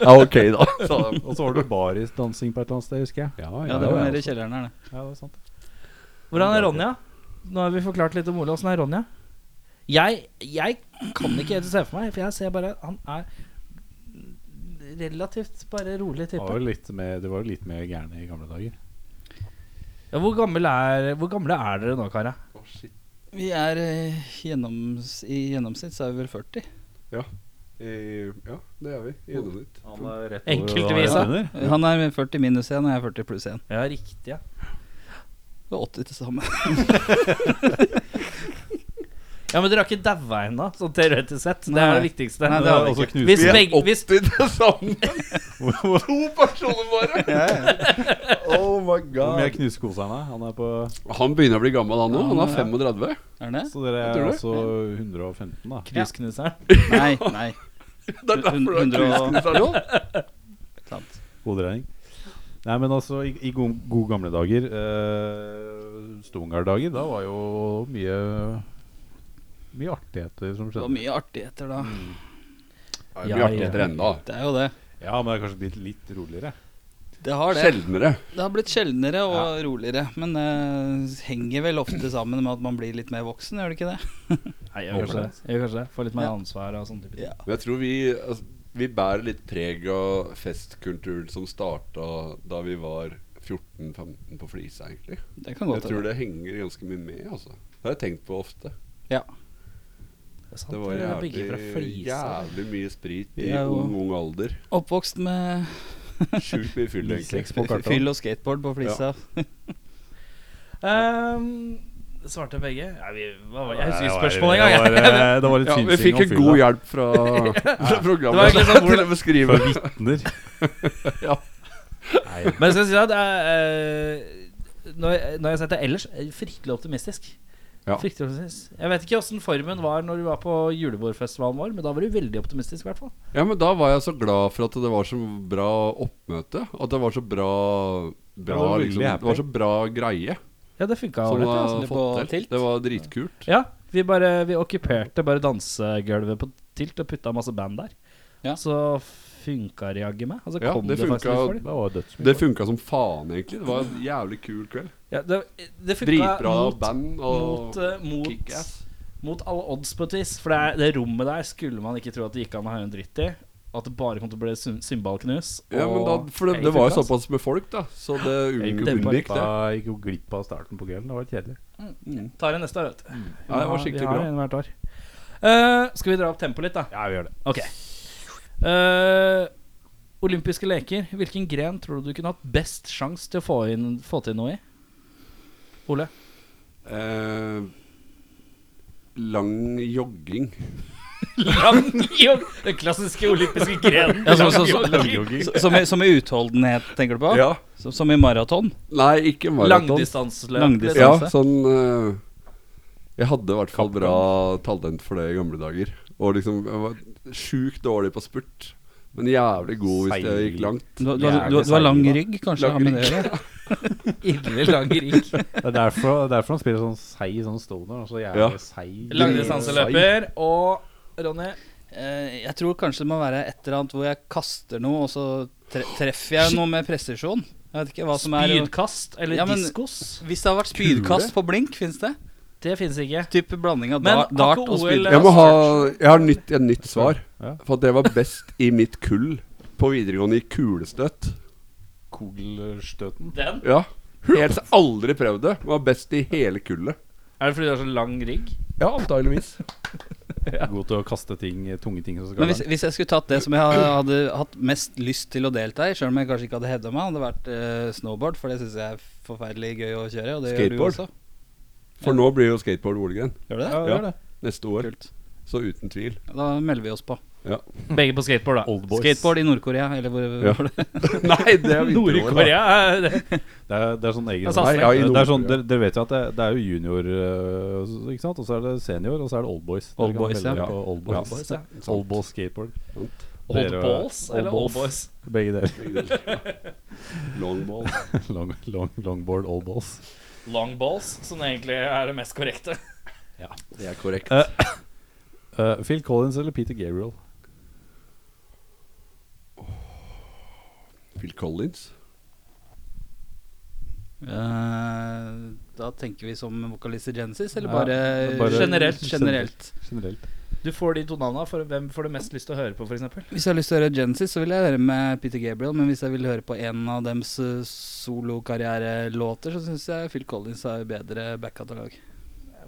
Ja, ok, da. sa de. Og så var det barisdansing på et eller annet sted, husker jeg. Ja, det var nede i kjelleren her, det. Ja, det er sant. Hvordan er Ronja? Nå har vi forklart litt om Ole. Åssen er Ronja? Jeg, jeg kan ikke helt se for meg, for jeg ser bare han er relativt bare rolig Det var type. jo litt mer, det var jo litt mer gærne i gamle dager. Ja, hvor, gammel er, hvor gamle er dere nå, karer? Å, shit. Vi er eh, gjennoms, I gjennomsnitt så er vi vel 40. Eh, Ja, det er vi. I gjennomsnitt. Enkeltvis, da. da. Han er 40 minus 1, og jeg er 40 pluss 1. Ja, riktig, ja. Det er 80 til sammen. Ja, Men dere har ikke daua ennå, sånn teoretisk sett. Det er Nei. det viktigste. Nei, Det er også Hvis knust. Vi er begge- hvis- 80 til sammen. To personer bare. Oh my Hvor mye er god. knusekoseren? da? Han er på Han begynner å bli gammel, han nå. Han er Ja. 35. Er det? Så dere Jeg er tror det. altså 115, da? Knusknuseren. Nei. nei Det er derfor det er Hundre og- cruisekonserter nå. sant. Hoderegning. Nei, men altså, i, i gode, gode gamle dager eh, Stongardager, da var jo mye Mye artigheter som Det var skjedde. mye artigheter da. Det er Ja, mye artigheter ja. ennå. Det er jo det. Ja, men det er kanskje blitt litt roligere. Det har det. Sjeldnere. Det har blitt sjeldnere og roligere. Men det henger vel ofte sammen med at man blir litt mer voksen, gjør det ikke det? Nei, jeg gjør kanskje det. Jeg gjør kanskje det. Får litt mer ansvar og sånne type ting. Ja. Men jeg tror vi, altså, vi bærer litt preg av festkulturen som starta da vi var 14-15 på Flisa, egentlig. Det kan Jeg godt tror hende. det henger ganske mye med, altså. Det har jeg tenkt på ofte. Ja. Det, er sant, Det var dere er begge fra jævlig, Flisa. jævlig mye sprit Vi i er jo- ung, ung alder. Oppvokst med Sjukt mye fyll, Sex egentlig. på kartet. fyll og skateboard på flisa. Ehm, svarte begge? Nei, vi, hva var, jeg husker Det ikke var- spørsmålet engang. Det var, eh, det var litt Ja, vi synsing fikk om en fylla. god hjelp fra, fra Det var programmet egentlig sånn til å beskrive. For vitner. Ja. Nei, Men jeg skal si at jeg, eh, når, jeg- når jeg har sett det ellers, er jeg fryktelig eh, optimistisk. Ja. Fikk du det sist? Jeg vet ikke åssen formen var når du var på julebordfestivalen vår, men da var du veldig optimistisk, i hvert fall. Ja, men da var jeg så glad for at det var så bra oppmøte. At det var så bra, bra Ja, det var veldig liksom, happy. Det var så bra greie. Ja, det funka som ålreit. var Altså. det på fått til. tilt. Det var dritkult. Ja, vi bare Vi okkuperte bare dansegulvet på tilt og putta masse band der. Ja. Så funka det jaggu meg. Og så Ja, kom det det, faktisk funka- litt folk. Det var dødsmye. Det funka som faen, egentlig. Det var en jævlig kul kveld. Ja, det, det funka Dritbra mot, band mot, og eh, mot, kickass. mot alle odds, på et vis. For det, er- det rommet der skulle man ikke tro at det gikk an å høre en dritt i. At det bare kom til å bli sym- symbalknus. Ja, men da, og- for det, Jeg det gikk var ut, jo altså. såpass med folk, da. Så det Jeg unngikk gikk jo Dempa unngikk glipp det. av- gikk jo glipp av starten på kvelden. Det var kjedelig. Mm. Tar en neste, vet du. Ja, det var skikkelig bra. Eh, skal vi dra opp tempoet litt, da? Ja, vi gjør det. Ok. Eh, olympiske leker. Hvilken gren tror du du kunne hatt best sjanse til å få, inn, få til noe i? Ole? Eh, lang jogging. Lang jogg! Den klassiske olympiske grenen. Ja, så, så, så, så, som, i, som i utholdenhet, tenker du på? Ja. Som, som i maraton? Nei, ikke maraton. Langdistanseløp. Langdistans- liksom. Ja, Distanse. sånn eh, Jeg hadde i hvert fall bra talent for det i gamle dager. Og liksom Jeg var sjukt dårlig på spurt, men jævlig god hvis jeg gikk langt. Du, du, du, du, du har lang rygg, kanskje? det har med det å gjøre? Ille lang rigg. Det er derfor, derfor han spiller sånn seig sånn stoner. Altså jævlig Ja. seig Langdistanseløper og Ronny. Eh, Jeg tror kanskje det må være et eller annet hvor jeg kaster noe, og så tre treffer jeg noe med presisjon. Jeg vet ikke hva som er Spydkast eller Ja, men- diskos. Hvis det har vært spydkast på blink, fins det? Det fins ikke. Type blanding av Men da- har ikke dart og OL spyd. Jeg må ha Jeg har nytt, et nytt svar. Ja. For at det var best i mitt kull på videregående i kulestøt. Kugelstøten. Den? Ja. Helt så aldri prøvd det. Var best i hele kullet. Er det fordi du har så lang rigg? Ja, antageligvis. God til å kaste ting, tunge ting som skal Men hvis, hvis jeg skulle tatt det som jeg ha- hadde hatt mest lyst til å delta i, sjøl om jeg kanskje ikke hadde hedda meg, hadde det vært eh, snowboard, for det syns jeg er forferdelig gøy å kjøre. Og det Skateboard? gjør du også. For nå blir jo skateboard OL-gren. Gjør du det? Ja, gjør det. Neste år. Kult. Så uten tvil. Da melder vi oss på. Begge på skateboard, da. Oldboys. Skateboard i Nord-Korea, eller hvor, Ja. hvor det Nei, det er vinter-OL. da. Nord-Korea er det. Det er, det er sånn egen Det er satsing. Nei, ja, i det er sånn, Nord-Korea. dere, dere vet jo at det, det er jo junior, øh, ikke sant? Og så er det senior, og så er det oldboys. Dere Old kan boys, velge ja. på Old Ja. boys. Oldboys, ja. Old boys skateboard. Sant. Old Dere- balls eller old old balls. boys? Begge deler. Longball. long, long, longboard, old balls. Long balls, som egentlig er det mest korrekte. Det er korrekt. Eh, Eh, Phil Collins eller Peter Gabriel? Phil Collins. Eh, Da tenker vi som vokalister Genesis, eller Ja, bare, bare- Generelt. generelt? Generelt. Du får de to navna. For hvem får du mest lyst til å høre på, f.eks.? Hvis jeg har lyst til å høre Genesis, så vil jeg høre med Peter Gabriel. Men hvis jeg vil høre på en av dems eh, solokarrierelåter, så syns jeg Phil Collins er bedre backkatalog.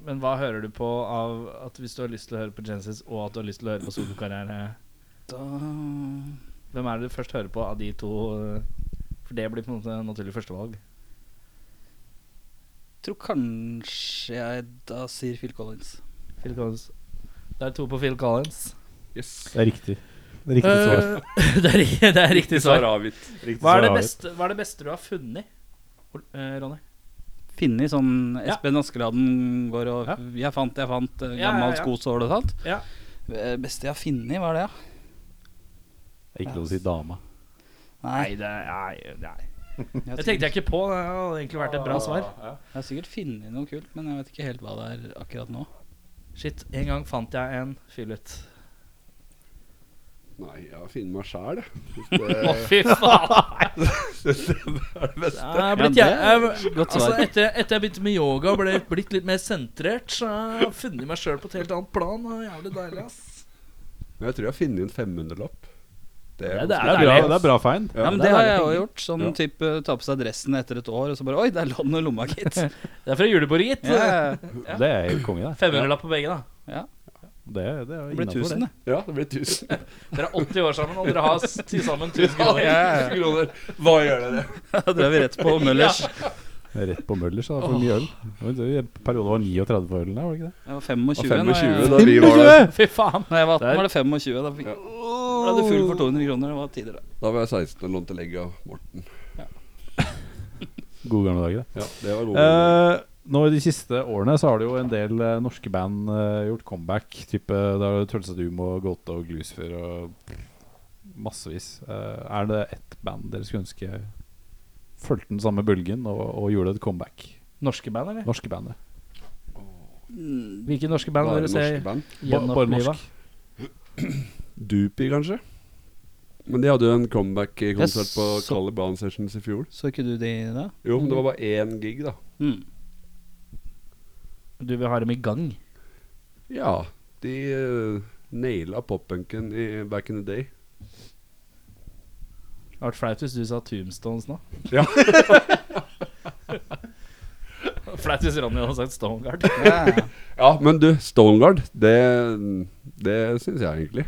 Men hva hører du på av at hvis du har lyst til å høre på Genesis, og at du har lyst til å høre på solokarriere? Da Hvem er det du først hører på av de to? eh, For det blir på en måte naturlig førstevalg. tror kanskje jeg da sier Phil Collins. Phil Collins. Det er to på Phil Collins. Yes. Det er riktig. Det er riktig svar. Eh, det, er, ri- det er riktig svar. avgitt. Riktig Hva er, det svar. beste, hva er det beste du har funnet, Ol- eh, Ronny? Finne i sånn Ja. Espen Askeladden går og Ja. 'Jeg fant, jeg fant' eh, Ja, gammel ja, ja. skosål og sånt. Ja. Eh, Beste jeg har funnet, hva er det, da? Ikke lov å si dame. Nei, det er- nei, nei. jeg har Det sikkert- tenkte jeg ikke på. Det hadde egentlig vært et bra svar. Jeg har sikkert funnet noe kult, men jeg vet ikke helt hva det er akkurat nå. Shit, en gang fant jeg en fyllet. Nei, jeg finner meg sjæl, jeg. Hvis Å, det- fy faen! er det beste. Jeg er blitt, Ja, jeg, jeg, det er godt altså, svar. etter, etter jeg begynte med yoga og ble blitt litt mer sentrert, så jeg har funnet meg sjøl på et helt annet plan. Det er jævlig deilig, ass. Men jeg tror jeg har funnet en 500-lapp. Ja, Det er bra, det er bra fein. Ja, men det Det er har veldig jeg òg hyggelig. gjort. Sånn Ja. type ta på seg dressen etter et år, og så bare Oi, der lå den i lomma, gitt. Det er fra julebordet, gitt. Ja, Ja. Det er helt konge, det. 500-lapp på begge, da. ja. Det, det er Det blir innenfor, 1000, det. Ja, det blir 1000 Dere er 80 år sammen, og dere har s- til sammen 1000 kroner. kroner. Hva gjør det det? Da drev vi rett på Møllers. Rett på Møllers, da, for mye øl. Det var En periode var 39 for ølen der, var det ikke det? Jeg var 25, Ja, 25 da, jeg, da vi var der. Fy faen. da jeg var 18, Der. var det 25. Da fikk Ja. ble du full for 200 kroner. Det var tider, da. Da var jeg 16 og lånte legg av Morten. Gode gamle dager, det. Ja, det var god. Eh, Nå i de siste årene så har det jo en del eh, norske band eh, gjort comeback. Type da har du Tølsa Doom og Gåte og Glucifer og massevis. Eh, er det ett band dere skulle ønske fulgte den samme bølgen og, og gjorde et comeback? Norske band, eller? Norske bandet. Hvilke norske band vil Bare du se norske band. Ba- Bare gjenoppliva? norsk. Dupi, kanskje? Men de hadde jo en comeback-konsert på så- Caliban Sessions i fjor. Så ikke du de da? Jo, men det var bare én gig, da. Mm. Du vil ha dem i gang? Ja. De eh, naila poppunken i back in the day. Det hadde vært flaut hvis du sa Tombstones nå. Ja. flaut hvis Ronny hadde sagt Stoneguard. Ja, ja. Ja, men du, Stoneguard, det, det syns jeg egentlig.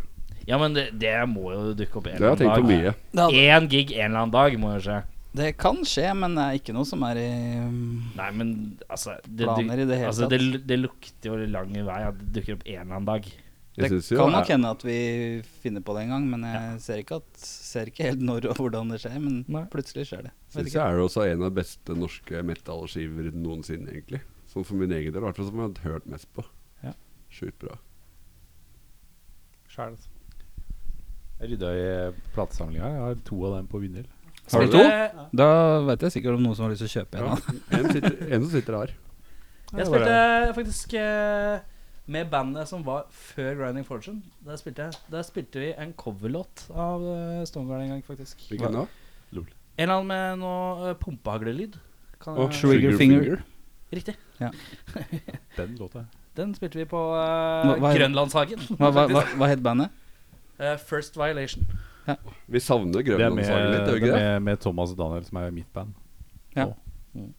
Ja, men det, det må jo dukke opp Det en har jeg eller tenkt på annen dag. mye. Det, hadde, Én gig en eller annen dag må jo skje. det kan skje, men det er ikke noe som er i um, Nei, men altså Det, Planer i det hele altså, tatt. det, det lukter jo lang vei at det dukker opp en eller annen dag. Jeg Det synes jo, kan jeg- nok hende at vi finner på det en gang, men jeg ser, ikke at, ser ikke helt når og hvordan det skjer. Men Nei. plutselig skjer det. Vet Syns ikke. jeg er det også en av de beste norske metallskiver noensinne, egentlig. Sånn for min egen del, i hvert fall som jeg har hørt mest på. Ja. Sjukt bra. Jeg rydda i platesamlinga. Jeg har to av dem på vinyl. Spill to? Jeg Da veit jeg sikkert om noen som har lyst til å kjøpe en. Ja. av dem. En, sitter, en som sitter her. Det var spilte faktisk eh, med bandet som var før Grinding Fortune. Der spilte, jeg, der spilte vi en coverlåt av eh, Stoneguard en gang, faktisk. Hvilken da? En eller annen med noe eh, pumpehaglelyd. Kan Å, jeg- Trigger Finger. Riktig. Den låta. Den spilte vi på eh, Hva- hva er- Grønlandshagen. Hva, hva, hva, hva het bandet? Eh, First Violation. Vi savner Det er med, Grønlandshagen litt, gjør vi det ikke er det? med, med Thomas og Daniel, som er mitt band. Ja. Nå.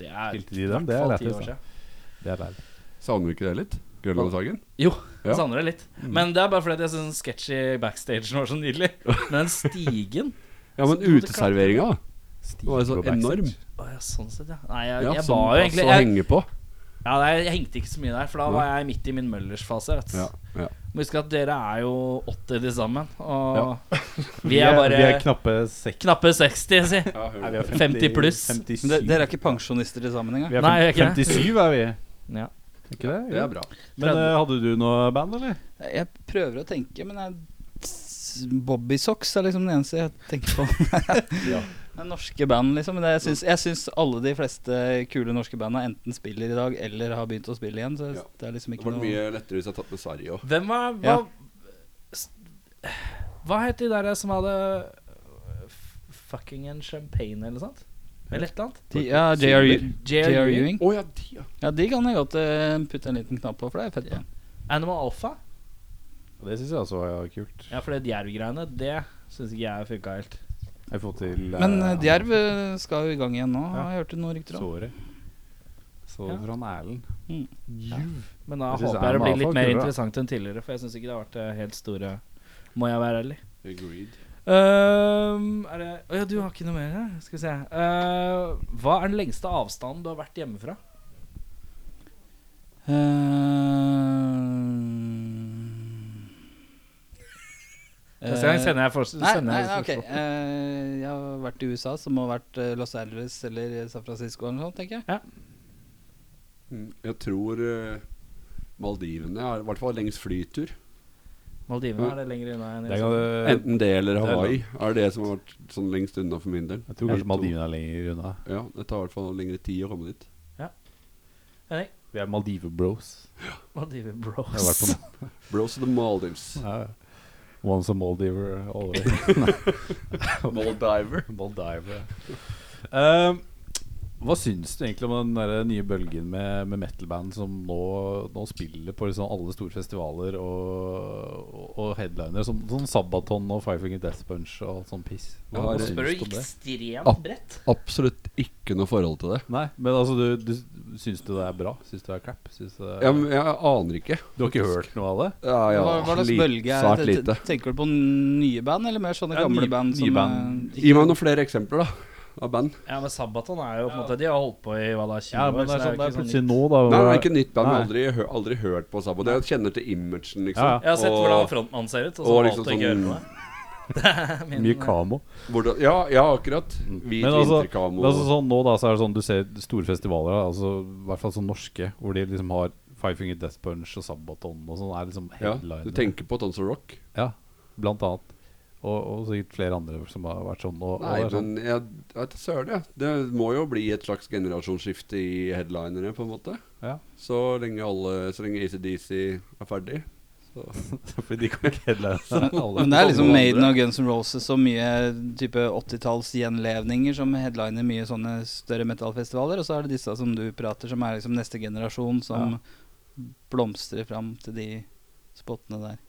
Det er Spilte de den? Det er fall ti lættis, år da. siden. Det er lættis. Savner vi ikke det litt? Grønlandshagen? Jo, Ja. jeg savner det litt. Men det er bare fordi at jeg syns den sketchy backstagen var så nydelig. Men den stigen Ja, men uteserveringa, da. Stig Den var jo så på backstage. enorm. Å ja, sånn sett, ja. Nei, jeg, Ja, jeg som var jo egentlig pass å jeg, henge på. ja, nei, jeg hengte ikke så mye der, for da var jeg midt i min Møllers-fase. vet du. Ja, ja. Må huske at dere er jo 80 til sammen, og Ja. vi er bare vi er knappe seks. knappe 60, si. Nei, vi er 50 pluss. 57. Men de, dere er ikke pensjonister i sammen engang? Vi er Nei, vi er ikke det. 57 er vi. Ja. Er Ikke det? Det er bra. Men eh, hadde du noe band, eller? Jeg prøver å tenke, men jeg Bobbysocks er liksom det eneste jeg tenker på. Ja. Det er norske band, liksom. Men det, jeg syns- jeg syns alle de fleste kule norske banda enten spiller i dag eller har begynt å spille igjen. Så Ja. det er liksom Det ikke var noe mye lettere hvis jeg hadde tatt med Sverige òg. Hvem var Hva, Ja. s- hva het de der som hadde f- Fucking and champagne, eller noe sånt? Eller et eller annet? De- Ja, JR Ewing. JR Ewing. Å ja, de, ja. Ja, de kan jeg godt eh, putte en liten knapp på, for det er fett. Ja. band. Animal Alpha? Det syns jeg også var kult. Ja, for det jervgreiene, det syns ikke jeg funka helt. Jeg får til eh, Men eh, Djerv eh, skal jo i gang igjen nå, Ja. har jeg hørt noen rykter om. Såret. Så Ja. fra Erlend. Mm. Men da Jeg håper synes jeg det Animal blir litt Alpha mer kuler, da. interessant enn tidligere, for jeg syns ikke det har vært eh, helt store Må jeg være ærlig. Agreed. Ehm, er det Å ja, du har ikke noe mer? ja? Skal vi se. Eh, hva er den lengste avstanden du har vært hjemmefra? Eh, Neste gang sender jeg for Nei, sender nei, jeg nei, ok. spørsmål. Eh, jeg har vært i USA, som har vært eh, Los Angeles eller San Francisco eller noe sånt, tenker jeg. Mm, Jeg tror eh, Maldivene er i hvert fall lengst flytur. Maldivene Eh, er det lenger unna enn Det kan, Israel. du- Enten det eller Eh, det er sånn- Hawaii er det som har vært sånn lengst unna for min del. jeg tror kanskje Maldivene er lenger unna. Ja, Det tar i hvert fall lengre tid å komme dit. Henrik, Vi er Maldive-bros. Maldiver Jeg har vært bros. på Bros of the Maldives. Ja, ja. Once a Maldiver, always Maldiver. Maldiver. Um, hva syns du egentlig om den der nye bølgen med, med metal-band som nå, nå spiller på liksom alle store festivaler og, og, og headliner, som sånn Sabaton og Five Finger Death Punch og alt sånn piss? Ja, Hva det- syns Spør du du om det? Ah. ekstremt bredt? Absolutt ikke noe forhold til det. Nei, men altså, du, du syns du det er bra? Syns du det er crap? Syns du, det er- Jeg, jeg aner ikke. du har ikke hørt noe av det? Ja, ja, Hva, hva slags lit- bølge er Svært det? Te- lite. Tenker du på nye band, eller mer sånne Ja, gamle nye- band? nye Som, band. eh, Gi meg noen flere eksempler, da. Av band. Ja, men Sabaton er jo på en måte De har holdt på i hva da, 20 Ja, år? men det er, sånn, det jo er ikke plutselig nytt. nå, da. Nei, det er ikke nytt band. Jeg har Nei. aldri, hø- aldri hørt på Sabo. Jeg kjenner til imagen, liksom. Ja, ja. Jeg har sett Og- hvordan frontmannen ser ut, og så og valgte liksom jeg ikke å sånn- høre på det. Min, Mye kamo. Hvordan, ja, ja, akkurat. Hvit Men altså, vinterkamo. Det er altså sånn, nå da, så er det sånn, du ser store festivaler, da, altså, i hvert fall sånn norske, hvor de liksom har Five Finger Death Punch og Sabaton og sånn. er liksom ja, headliner. du tenker på Tons of Rock? Ja, blant annet. Og, og sikkert flere andre som har vært sånn. Og, Nei, og det er sånn men jeg jeg vet da søren, jeg. Det må jo bli et slags generasjonsskifte i headlinerne, på en måte. Ja. Så lenge alle Så lenge ACDC er ferdig. Så. Fordi de kan ikke headline alle. Men det er liksom Alle Maiden andre. og Guns N' Roses og mye type 80-talls gjenlevninger som headliner mye sånne større metalfestivaler. Og så er det disse som du prater, som er liksom neste generasjon, som blomstrer fram til de spottene der.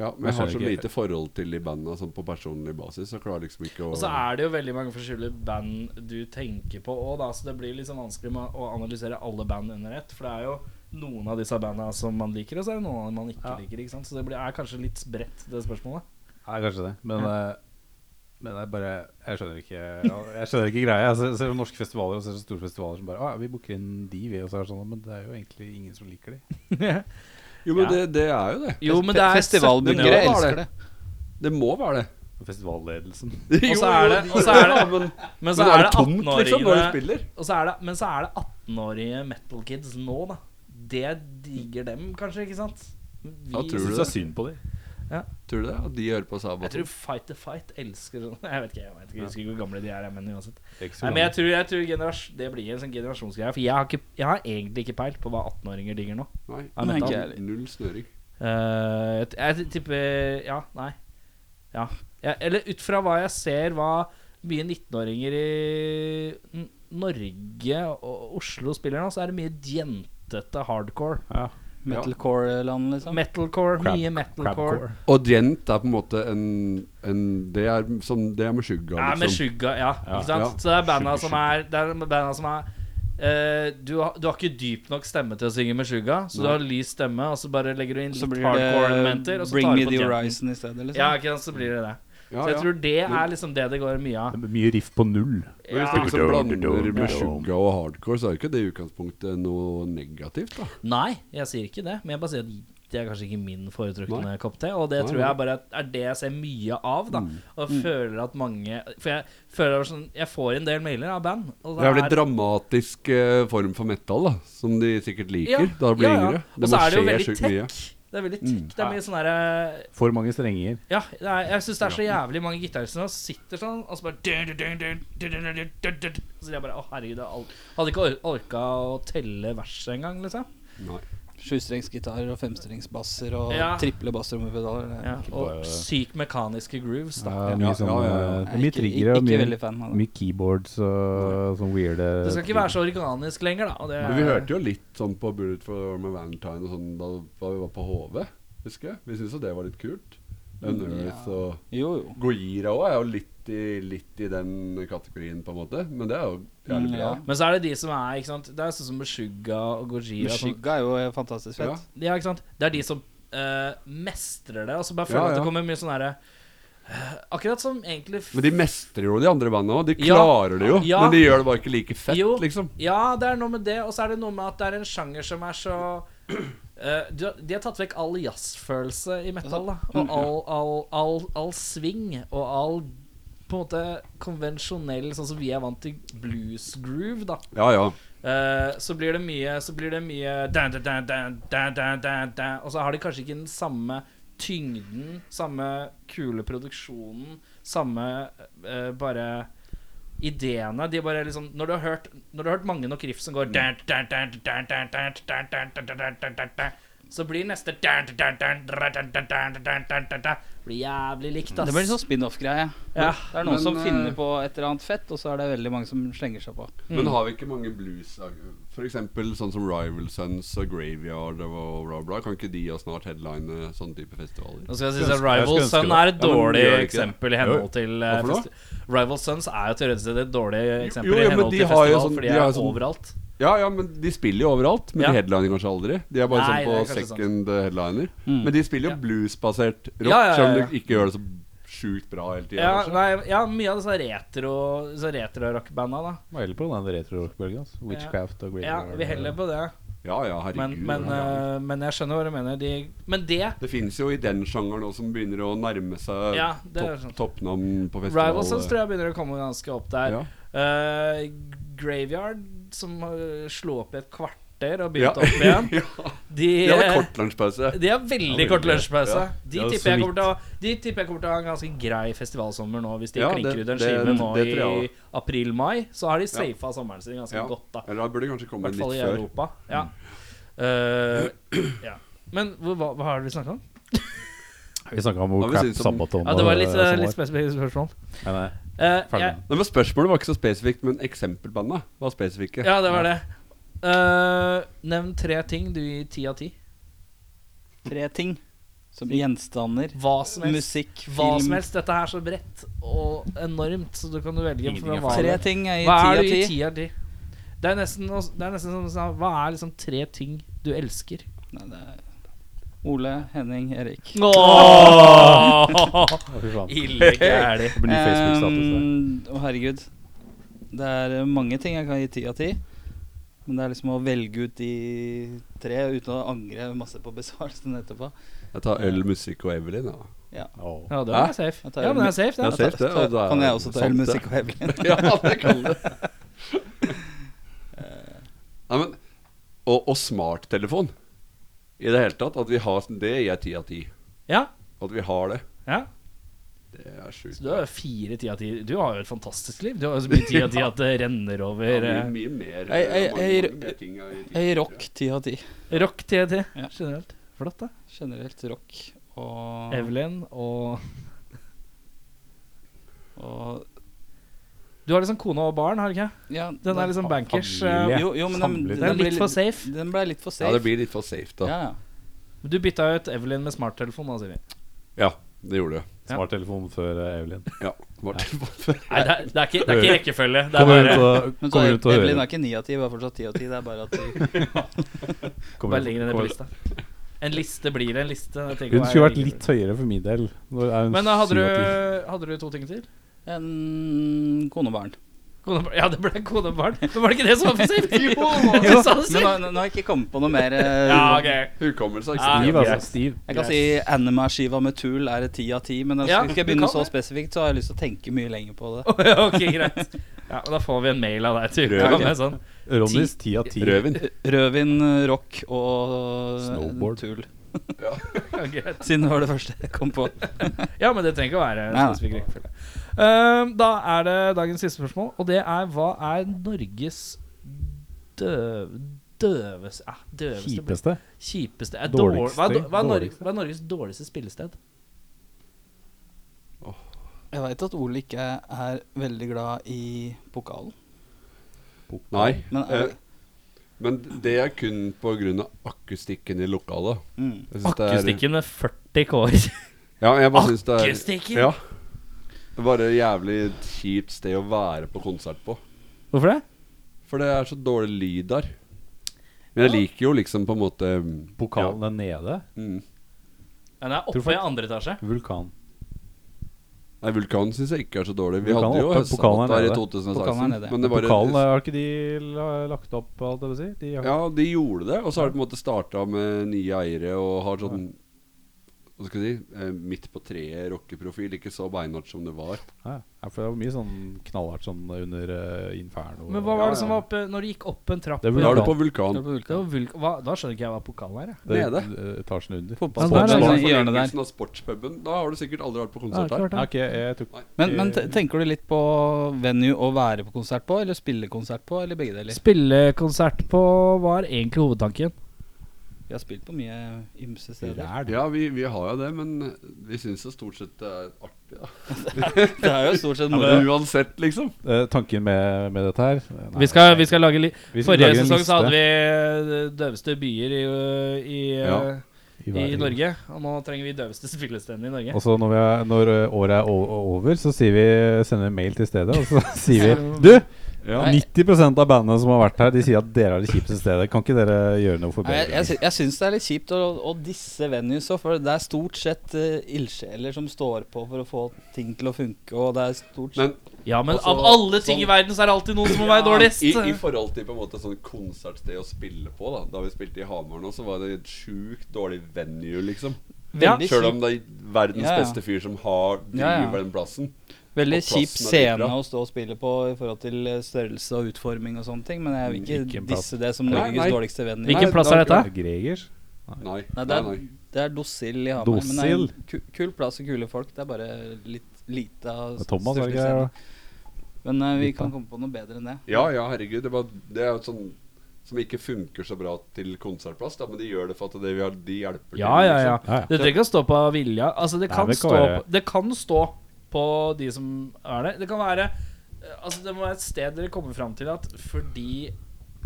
Ja, men Men jeg har så er så det ikke- lite forhold til de bandene sånn på personlig basis, så jeg klarer liksom ikke å Og så er det jo veldig mange forskjellige band du tenker på òg, da, så det blir litt sånn vanskelig med å analysere alle band under ett. For det er jo noen av disse banda som man liker, og så er det noen av dem man ikke Ja. liker. ikke sant? Så det blir, er kanskje litt spredt, det spørsmålet. Nei, kanskje det. Men, eh, men det er bare Jeg skjønner ikke ja, Jeg skjønner ikke greia. Jeg ser, ser norske festivaler og ser så store festivaler som bare Å ja, vi booker inn de, vi. Og så er det sånn, men det er jo egentlig ingen som liker de. Jo, men Ja. det, det er jo det. Jo, men det er år, Festivalbookere da, elsker det. det. Det må være det. Festivalledelsen. Og så er det, og så er det, men, Men så det er er det tomt, liksom, når du 18-åringene spiller. og så er det- Men så er det 18-årige metal kids nå, da. Det digger dem kanskje, ikke sant? Vi, Ja, tror Jeg du syns det? det er synd på de. Tror du det? At de hører på Jeg tror Sabaton? Fight the Fight elsker sånn Jeg vet ikke, jeg, vet ikke, jeg husker ikke hvor gamle de er, men uansett. Det er ikke så Nei, men jeg gammelt. tror, jeg tror generas- det blir en sånn generasjonsgreie. For jeg har, ikke, jeg har egentlig ikke peil på hva 18-åringer digger nå. Nei. Ja, Nei, metal. ikke jeg heller. Null snøring. Eh, jeg, t- jeg tipper Ja, nei. Ja. Jeg, eller ut fra hva jeg ser, hva mye 19-åringer i N- Norge og Oslo spiller nå, så er det mye jentete hardcore. Ja. Metalcore-land, liksom. Metalcore. Crab- mye metalcore. crabcore. Og gent er på en måte en, en Det er som Det er med skygga, Ja, med liksom. Suga, ja. Ja, Ikke sant? ja. Så det er banda Sugar, som er, det er banda som er eh, du, har, du har ikke dyp nok stemme til å synge med Suga, så du Nei. har lys stemme, og så bare legger du inn Så litt blir hardcore det elementer, og så Bring tar Me du på The jenten. Horizon i stedet, Ja, liksom. ikke sant, så blir det det. Ja, Så jeg ja. tror det er liksom det det går mye av. Det er mye riff på null. Men Ja. Hvis du liksom blander Ja. med sugar og hardcore, så er jo ikke det i utgangspunktet noe negativt, da. Nei, jeg sier ikke det, men jeg bare sier at det er kanskje ikke min foretrukne Nei. kopp te, og det Nei, tror nei. Mm. jeg bare er det jeg ser mye av, da. Og føler at mange For jeg føler sånn Jeg får en del mailer av band, og Det er vel en dramatisk eh, form for metal, da, som de sikkert liker da de blir yngre. Og Det så må er det jo skje veldig sjukt mye. tech. Det er veldig Mm. tech. Det er mye sånn derre For mange strenger. Ja, det er, jeg syns det er så jævlig mange gitarister som sitter sånn, og så bare dun, dun, dun, dun, dun, dun, dun, dun, dun. Så sier jeg bare Å, herregud, jeg al- hadde ikke or- orka å telle verset engang, liksom. Nei. Sjusterengsgitarer og femsterengsbasser og Ja. triple bassrommepedaler. det er Ja, ikke- og bare- sykt mekaniske grooves, da. Ja, Ja, mye sånn, ja, ja, ja. eh, Jeg er Mye ikke- triggere og ikke mye, veldig fan av det. mye keyboards og sånn weirde Det skal ikke være så organisk lenger, da. Og det, Men vi hørte jo litt sånn på Bullet for med Valentine og sånn da, da vi var på HV, husker jeg. Vi syntes jo det var litt kult. Mm, Unearth og Jo, jo. Gojira òg er jo litt i, litt i den kategorien, på en måte. Men det er jo jævlig Mm, bra. ja. Men så er det de som er ikke sant? Det er sånn som Meshuggah og Gojira. og sånn- Skygga er jo fantastisk fett. Ja. Ja, ikke sant? Det er de som eh, mestrer det. Og så bare Ja, føler jeg ja. at det kommer mye sånn derre eh, Akkurat som egentlig f- Men de mestrer jo de andre bandene òg. De Ja. klarer det jo. Ja. Men de gjør det bare ikke like fett, Jo. liksom. Ja, det er noe med det, og så er det noe med at det er en sjanger som er så eh, du, har- De har tatt vekk all jazzfølelse i metal, da. Og all, all, all, all swing, og all på en måte konvensjonell, sånn som vi er vant til blues groove, da. Ja, ja. Eh, så blir det mye Så blir det mye da, da, da, da, da, da, da, da. Og så har de kanskje ikke den samme tyngden, samme kule produksjonen, samme eh, bare ideene. De bare liksom Når du har hørt Når du har hørt mange nok riff som går da, da, da, da, da, da, da, da, da, da, da, da, da, da, så blir neste da, da, da, da, da, da, da, da, da, da, da, da, Blir jævlig likt, ass. Det blir sånn spin-off-greie. Ja. Det er noen Men, som eh, finner på et eller annet fett, og så er det veldig mange som slenger seg på. Mm. Men har vi ikke mange blues For eksempel sånn som Rival Sons og Graveyard og bla, bla, bla. Kan ikke de jo snart headline sånne type festivaler? Nå skal jeg si at Jeg skulle ønske- Rival jeg skulle ønske Sun er et Ja, men dårlig gjør det ikke eksempel i Jo. henhold til eh, Hvorfor da? festi- Rival Sons er jo teoretisk sett et dårlig eksempel jo, i ja, men henhold de til har jo festival, sånn- de for de har er jo sånn- overalt. Ja, ja, men de spiller jo overalt. Men Ja. de headliner kanskje aldri. De er bare Nei, det er sånn på kanskje sant. second headliner. Mm. Men de spiller jo Ja. bluesbasert rock, Ja, ja, ja, selv ja. om de ikke gjør det så sjukt bra hele tida. Ja, nei, ja, mye av disse retro disse retro-rockbanda, da. Hva gjelder på den retro-rockbølgen? Altså. Witchcraft og Green Ja, vi heller på det. Ja ja, Men, herregud. men, eh, men jeg skjønner hva du mener. De, men det det finnes jo i den sjangeren også som begynner å nærme seg Ja, det er sånn. topp, sant. toppnavn på festival. eh. Rivalsons tror jeg begynner å komme ganske opp der. Ja. Eh, Graveyard, som eh, slo opp i et kvarter og Ja. begynte opp igjen, ja. de, De hadde kort lunsjpause. de har veldig Ja, kort veldig. lunsjpause. Ja. De, Ja, så tipper jeg vidt. kommer til å ha- de tipper jeg kommer til å ha en ganske grei festivalsommer nå, hvis de Ja, klinker det- ut en det- skive nå det tror jeg i april-mai. Så har de safa sommeren sin ganske Ja. godt, da. Eller da burde det kanskje I komme hvert fall litt i før. Europa. Ja. Eh, ja. Men hvor- hva, hva har vi snakket om? Vi snakka om Ja, vi Crap synes om- Sabaton. Ja, det var og, litt, eh, eh, som litt var. spesifikke spørsmål. Nei, nei, Eh, ferdig. jeg- Nei, men Spørsmålet var ikke så spesifikt, men eksempelbanda var spesifikke. ja, det var det. Eh, nevn tre ting du gir ti av ti. Tre ting. Som gjenstander. Hva som helst. Musikk, Hva som film. helst. Dette er så bredt og enormt, så du kan jo velge. Ingenting er fra hva Tre du- ting er i Hva er ti du av i ti. ti av ti? Det er nesten, noe- det er nesten som, sånn, Hva er liksom tre ting du elsker? Nei, det er Ole, Henning, Erik. Ååå! Å, fy faen. Ille gæli. Det blir ny Facebook-status. der. Mm. Ehm, Å, herregud. Det er eh, mange ting jeg kan gi ti av ti. Men det er liksom å velge ut de tre uten å angre masse på besvarelsen etterpå. Jeg tar øl, musikk og Evelyn. Ja. Å. Ja, det Hæ? er safe. Jeg tar Ja, men det er øl- safe, Ja, det. safe. ser det, og det er kan jeg også ta sant, Øl, det. musikk og Evelyn? ja, det kan du. Nei, Eh, men, og, og smarttelefon i det hele tatt. At vi har Det gir jeg ti av ti. Ja, At vi har det. ja. Det er Så sjukt. du har jo fire ti av ti. Du har jo et fantastisk liv. Du har jo så mye ti av ti at det renner Ja, over. mye, eh, mye mer. Jeg- jeg- mange, jeg- mange ting er i ti. Jeg gir rock ti av ti. Rock ti av ti Ja. generelt. Flott, da. Generelt rock og, Evelyn og og Du har liksom kone og barn, har du ikke? Ja, Den er det- liksom bankers. familie. eh, jo, jo, men den, Samlet. den Den er ble litt for safe. Den ble litt for safe. Ja, det blir litt for safe, da. Ja, ja. Du bytta ut Evelyn med smarttelefon, da, sier vi. Ja, det gjorde det. Smarttelefon før eh, Evelyn. Ja, smarttelefon. Nei, det er, det er, ikke, det er ikke rekkefølge. Det er Kommer bare, rundt og, Men så kommer er rundt og Evelyn hører. er ikke ni av ti, hun er fortsatt ti av ti. Det er bare at eh, de, Kommer bare rundt- legg den ned på kommer- lista. En liste blir det en liste. Jeg tenker Hun hva er skulle vært det- litt høyere for min del. Nå er hun Men eh, hadde syv du, av ti. hadde du to ting til? en kone og barn. Kone, og barn- ja, det ble kone og barn. Men var det ikke det som var for safe? Jo, Du sa det men nå, selv. nå har jeg ikke kommet på noe mer. eh, Ja, ok. Hukommelse er Ja, ikke Stiv, ok. altså. Stiv. Jeg kan si Anima-skiva med Tool er et ti av ti, men jeg Ja, skal skal jeg du begynne kan det. så spesifikt, så har jeg lyst til å tenke mye lenger på det. Å, ja, ok, greit. Ja, men Da får vi en mail av deg til uka Røven. med sånn. Ronnys ti av ti. Rødvin. Rødvin, eh, rock og Snowboard. Tool. Ja, greit. Siden det var det første jeg kom på. ja, men det trenger ikke å være Nei, nei. spesifikk rekkefølge. Ehm, da er det dagens siste spørsmål, og det er hva er Norges døv, døves, eh, døveste bli- Kjipeste. Kjipeste er dårlig, hva, er, dår- hva, er Norge, Dårligste. hva er Norges dårligste spillested? Jeg veit at Ole ikke er veldig glad i pokalen, Nei. men er, eh, Men det er kun pga. akustikken i lokalet. mm. Jeg synes det er- Akustikken med 40 K-er. Ja, jeg bare synes det er Akustikken? Ja. Det er bare et jævlig kjipt sted å være på konsert på. Hvorfor det? For det er så dårlig lyd der. Men jeg liker jo liksom på en måte mm, Pokalen er nede. ja. mm. Den er Tror oppe folk- i andre etasje. Vulkan. Nei, Vulkanen syns jeg ikke er så dårlig. Vi Vulkanen hadde jo oppe, pokalen Hessat er der i 2016. nede. Pokalen er nede. Men det bare Pokalen er- har ikke de la- lagt opp, alt jeg vil si? De har, Ja, de gjorde det. Og så har de på en måte starta med nye eiere og har sånn Hva skal jeg si eh, Midt på treet rockeprofil. Ikke så beinhardt som det var. ja. ja, for det var mye sånn knallhardt sånn under eh, Inferno. Men og- hva Ja, var det som ja. var oppe når du gikk opp en trapp? Det er i- Da er du vulkan. på Vulkan. Det var vulk- hva, da skjønner ikke jeg hva pokalen er. Jeg. det, nede? eh, Etasjen under. Ja, Sports- der er Sånn det. i hjørnet der. forlengelsen av sportspuben. Da har du sikkert aldri vært på konsert Ja, der. klart Nei, ok, jeg tok Men, men eh, te- tenker du litt på venue å være på konsert på, eller spille konsert på, eller begge deler? Spillekonsert på var egentlig hovedtanken. Vi har spilt på mye ymse steder. Ræl. Ja, vi, vi har jo det, men vi syns jo stort sett det er artig, da. Det er jo stort sett Men moro. uansett, liksom. Eh, tanken med, med dette her Nei, Vi skal, vi skal lage li vi skal Forrige lage en sesong så hadde liste vi eh, døveste byer i, ø, i, ø, Ja, i verden. Norge. Og nå trenger vi døveste spillestedene i Norge. Og så når, vi er, når eh, året er o- over, så sier vi, sender vi mail til stedet, og så sier vi Du, Ja. Nei. 90 av bandene som har vært her, de sier at dere er det kjipeste stedet. Kan ikke dere gjøre noe for Nei, Jeg, bedre? jeg, sy- jeg syns det er litt kjipt å, å disse venues òg, for det er stort sett eh, ildsjeler som står på for å få ting til å funke, og det er stort Men sett Ja, men Altså, av alle ting i sånn- verden så er det alltid noen som må være Ja, dårligst. i, i forhold til på en måte sånn konsertsted å spille på, da Da vi spilte i Hamar nå, så var det et sjukt dårlig venue, liksom. Ja. Veldig Sjøl kjip, om det er verdens Ja, ja. beste fyr som har driver Ja, ja. den plassen. veldig og kjip plassen er litt scene bra. å stå og spille på i forhold til eh, størrelse og utforming og sånne ting, men Mm, jeg vil Ikke ikke en plass. disse det som Nei, Norges nei. dårligste venue. Hvilken Nei, plass det er er dette? Gregers? Nei. Nei, nei, det er, nei. det er Dosil i Hamar. Men det er en Dosil? ku, kul plass og kule folk. Det er bare litt lite av Det er Thomas, er det ikke størrelse. det? Men eh, vi Litt, kan da. komme på noe bedre enn det. Ja, ja, herregud. Det, var, det er jo et sånn som ikke funker så bra til konsertplass, da, men de gjør det for at det, vi har- de hjelper til. Ja, liksom. ja, ja. liksom. Ja, ja. Det trenger ikke å stå på vilja. Altså, det Nei, kan, det kan stå, være- på, det kan stå på de som er det. Det kan være eh, Altså, det må være et sted dere kommer fram til at fordi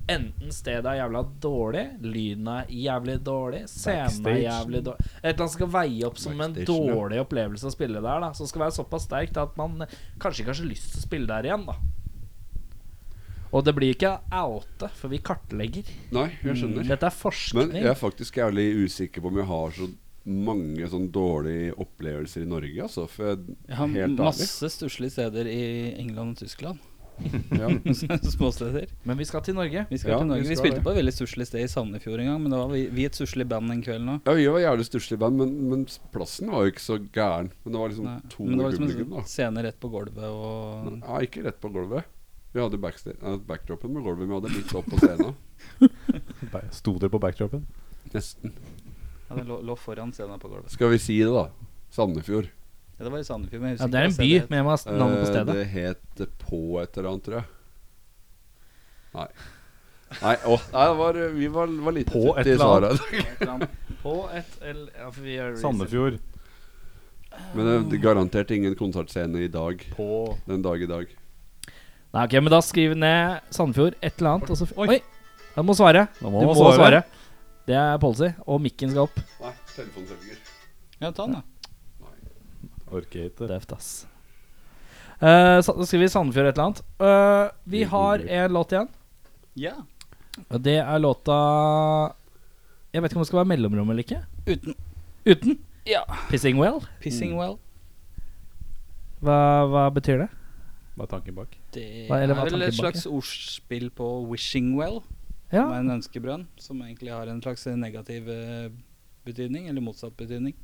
enten stedet er jævla dårlig, lyden er jævlig dårlig, scenen er Backstage. jævlig dårlig Et eller annet skal veie opp som en Backstage, ja. dårlig opplevelse å spille der, da. Som skal være såpass sterkt at man eh, kanskje ikke har så lyst til å spille der igjen, da. Og det blir ikke oute, for vi kartlegger. Nei, jeg skjønner. Dette er forskning. Men jeg er faktisk jævlig usikker på om jeg har så mange sånn dårlige opplevelser i Norge, altså. For jeg, Jeg har helt ærlig. masse stusslige steder i England og Tyskland. Ja. Småsteder. Men vi skal til Norge. Vi skal Ja, til Norge. vi Vi skal spilte det. på et veldig stusslig sted i Sandefjord en gang, men da var vi, vi et stusslig band den kvelden òg. Ja, vi var jævlig stusslig band, men, men plassen var jo ikke så gæren. Men det var liksom to Men i det var liksom sånn- publikum, en da. scene rett på gulvet og Ja, ikke rett på gulvet. Vi hadde backsta- eh, backdropen med gulvet, vi hadde litt opp på scenen. Nei, Sto dere på backdropen? Nesten. ja, Det lå, lå foran scenen på gulvet. Skal vi si det, da? Sandefjord. Ja, det var i Sandefjord. Men jeg Ja, husker det er en ikke hva by, stedet het. men jeg må ha navnet på Eh, stedet. Det het På et eller annet, tror jeg. Nei. Nei, åh, nei det var, vi var, var lite På tutt et i eller annet. Sara. På et L... Ja, for vi gjør research. Sandefjord. Men det, det garanterte ingen konsertscene i dag. På Den dag i dag. Nei, ok, men da skriver vi ned Sandefjord et eller annet, og så Oi! Han må svare. Du Da må må man svare. svare. Det er policy. Og mikken skal opp. Nei, telefonsøker. Ja, ta den, da. Orker ikke. Døvt, ass. Eh, så, da skriver vi Sandefjord et eller annet. Eh, vi Vi har googler. en låt igjen. Ja. Og det er låta Jeg vet ikke om det skal være mellomrom eller ikke. Uten Uten Ja. Pissing Well. Pissing Well. Hva, hva betyr det? Hva er tanken bak? Det Hva- eller er hva er vel et tanken bak slags ordspill på Wishing Well, Ja, som er en ønskebrønn, som egentlig har en slags negativ eh, betydning, eller motsatt betydning.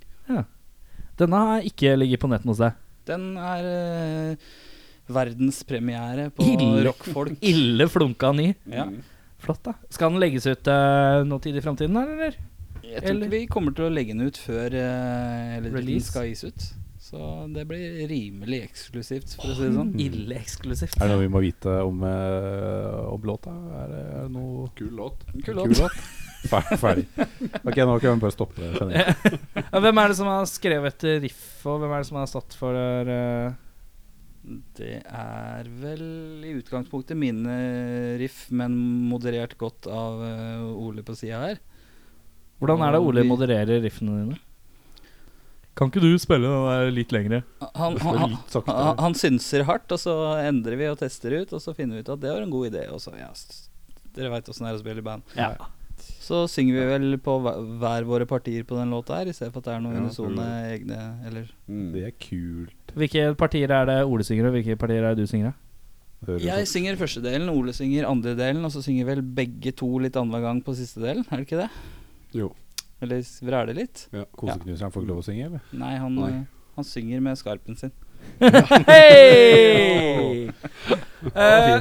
Denne har ikke ligget på nettet noe sted. Den er eh, verdenspremiere på Ille. rockfolk. Ille flunka ny. Ja. Flott, da. Skal den legges ut uh, noe tid i framtiden, eller? Jeg tror Eller- ikke vi kommer til å legge den ut før eh, eller den Release. skal gis ut. Så det blir rimelig eksklusivt, for å si det sånn. Ille eksklusivt. Mm. Er det noe vi må vite om, eh, om låta? Er det, er det noe Kul låt. Kul låt. Fer- Ferdig. Ok, nå kan vi bare stoppe det. kjenner jeg. Ja, hvem er det som har skrevet eh, riff, og hvem er det som har stått for eh, Det er vel i utgangspunktet mine riff, men moderert godt av eh, Ole på sida her. Hvordan er det Ole Vi- modererer riffene dine? Kan ikke du spille den der litt lengre? Han, han, han, Litt saktere. han, han synser hardt, og så endrer vi og tester ut, og så finner vi ut at det var en god idé. Og så, ja, s- dere veit åssen det er å spille i band. Ja. Så synger vi vel på hver, hver våre partier på den låta her, i stedet for at det er noen Ja, unisone prøver egne Eller Mm. Det er kult. Hvilke partier er det Ole synger, og hvilke partier er det du synger? da? Hører du Jeg sånn? synger første delen, Ole synger andre delen, og så synger vel begge to litt annenhver gang på siste delen, er det ikke det? sånn. Jo. Eller s- vræler litt? Koseknuseren får ikke lov å synge, eller? Nei, han, Nei. eh, han synger med skarpen sin. Hei! Eh,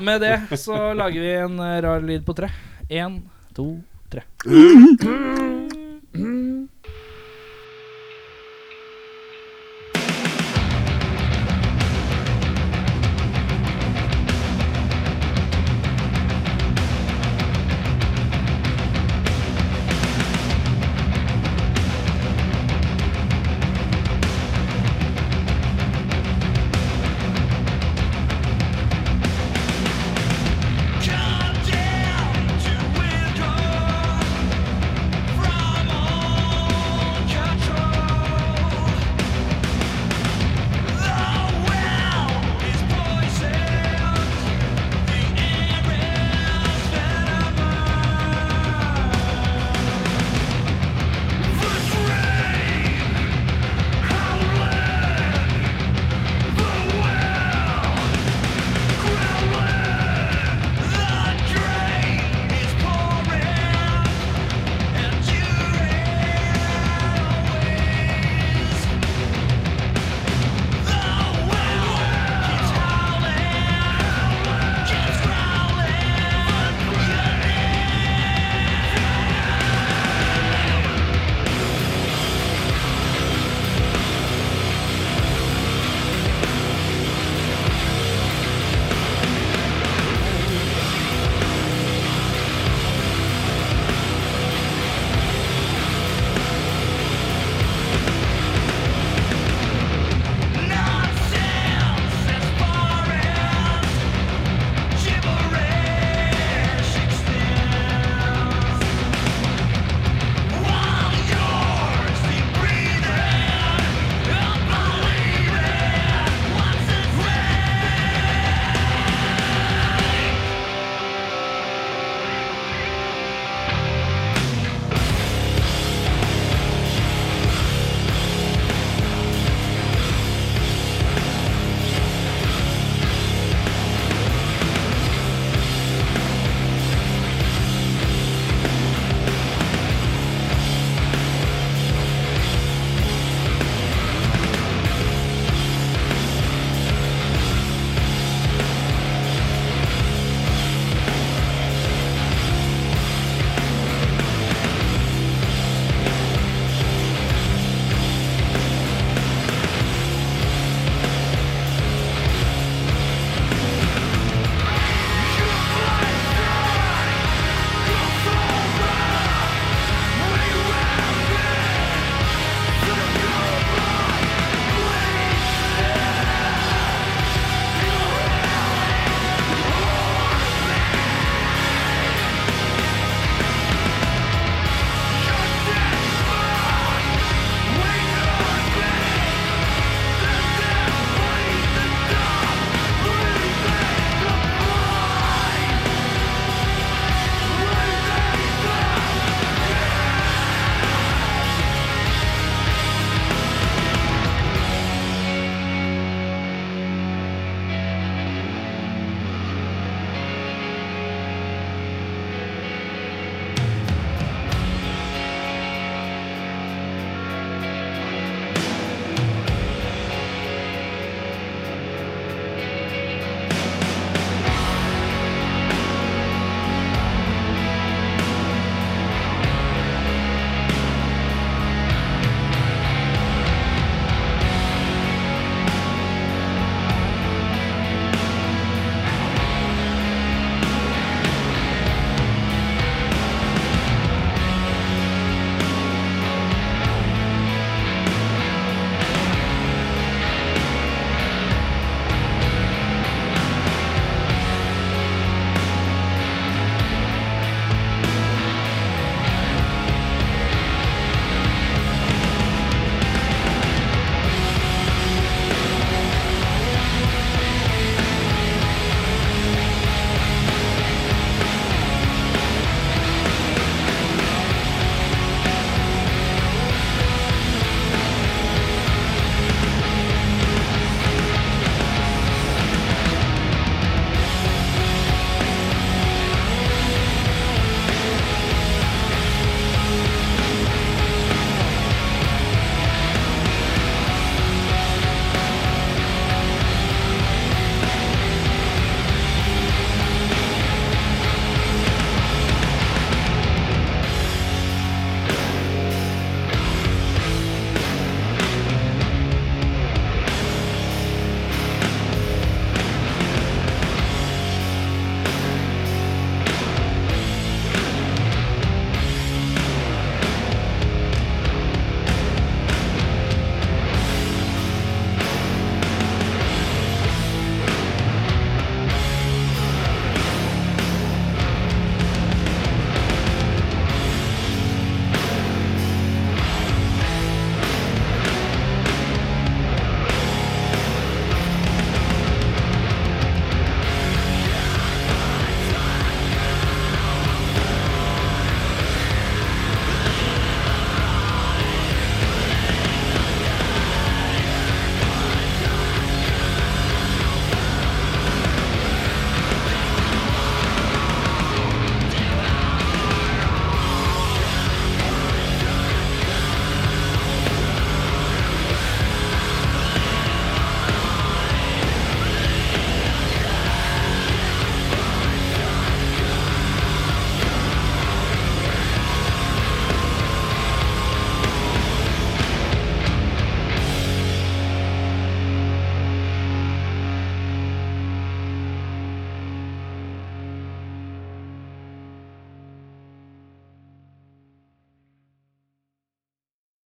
med det så lager vi en eh, rar lyd på tre. Én, to, tre.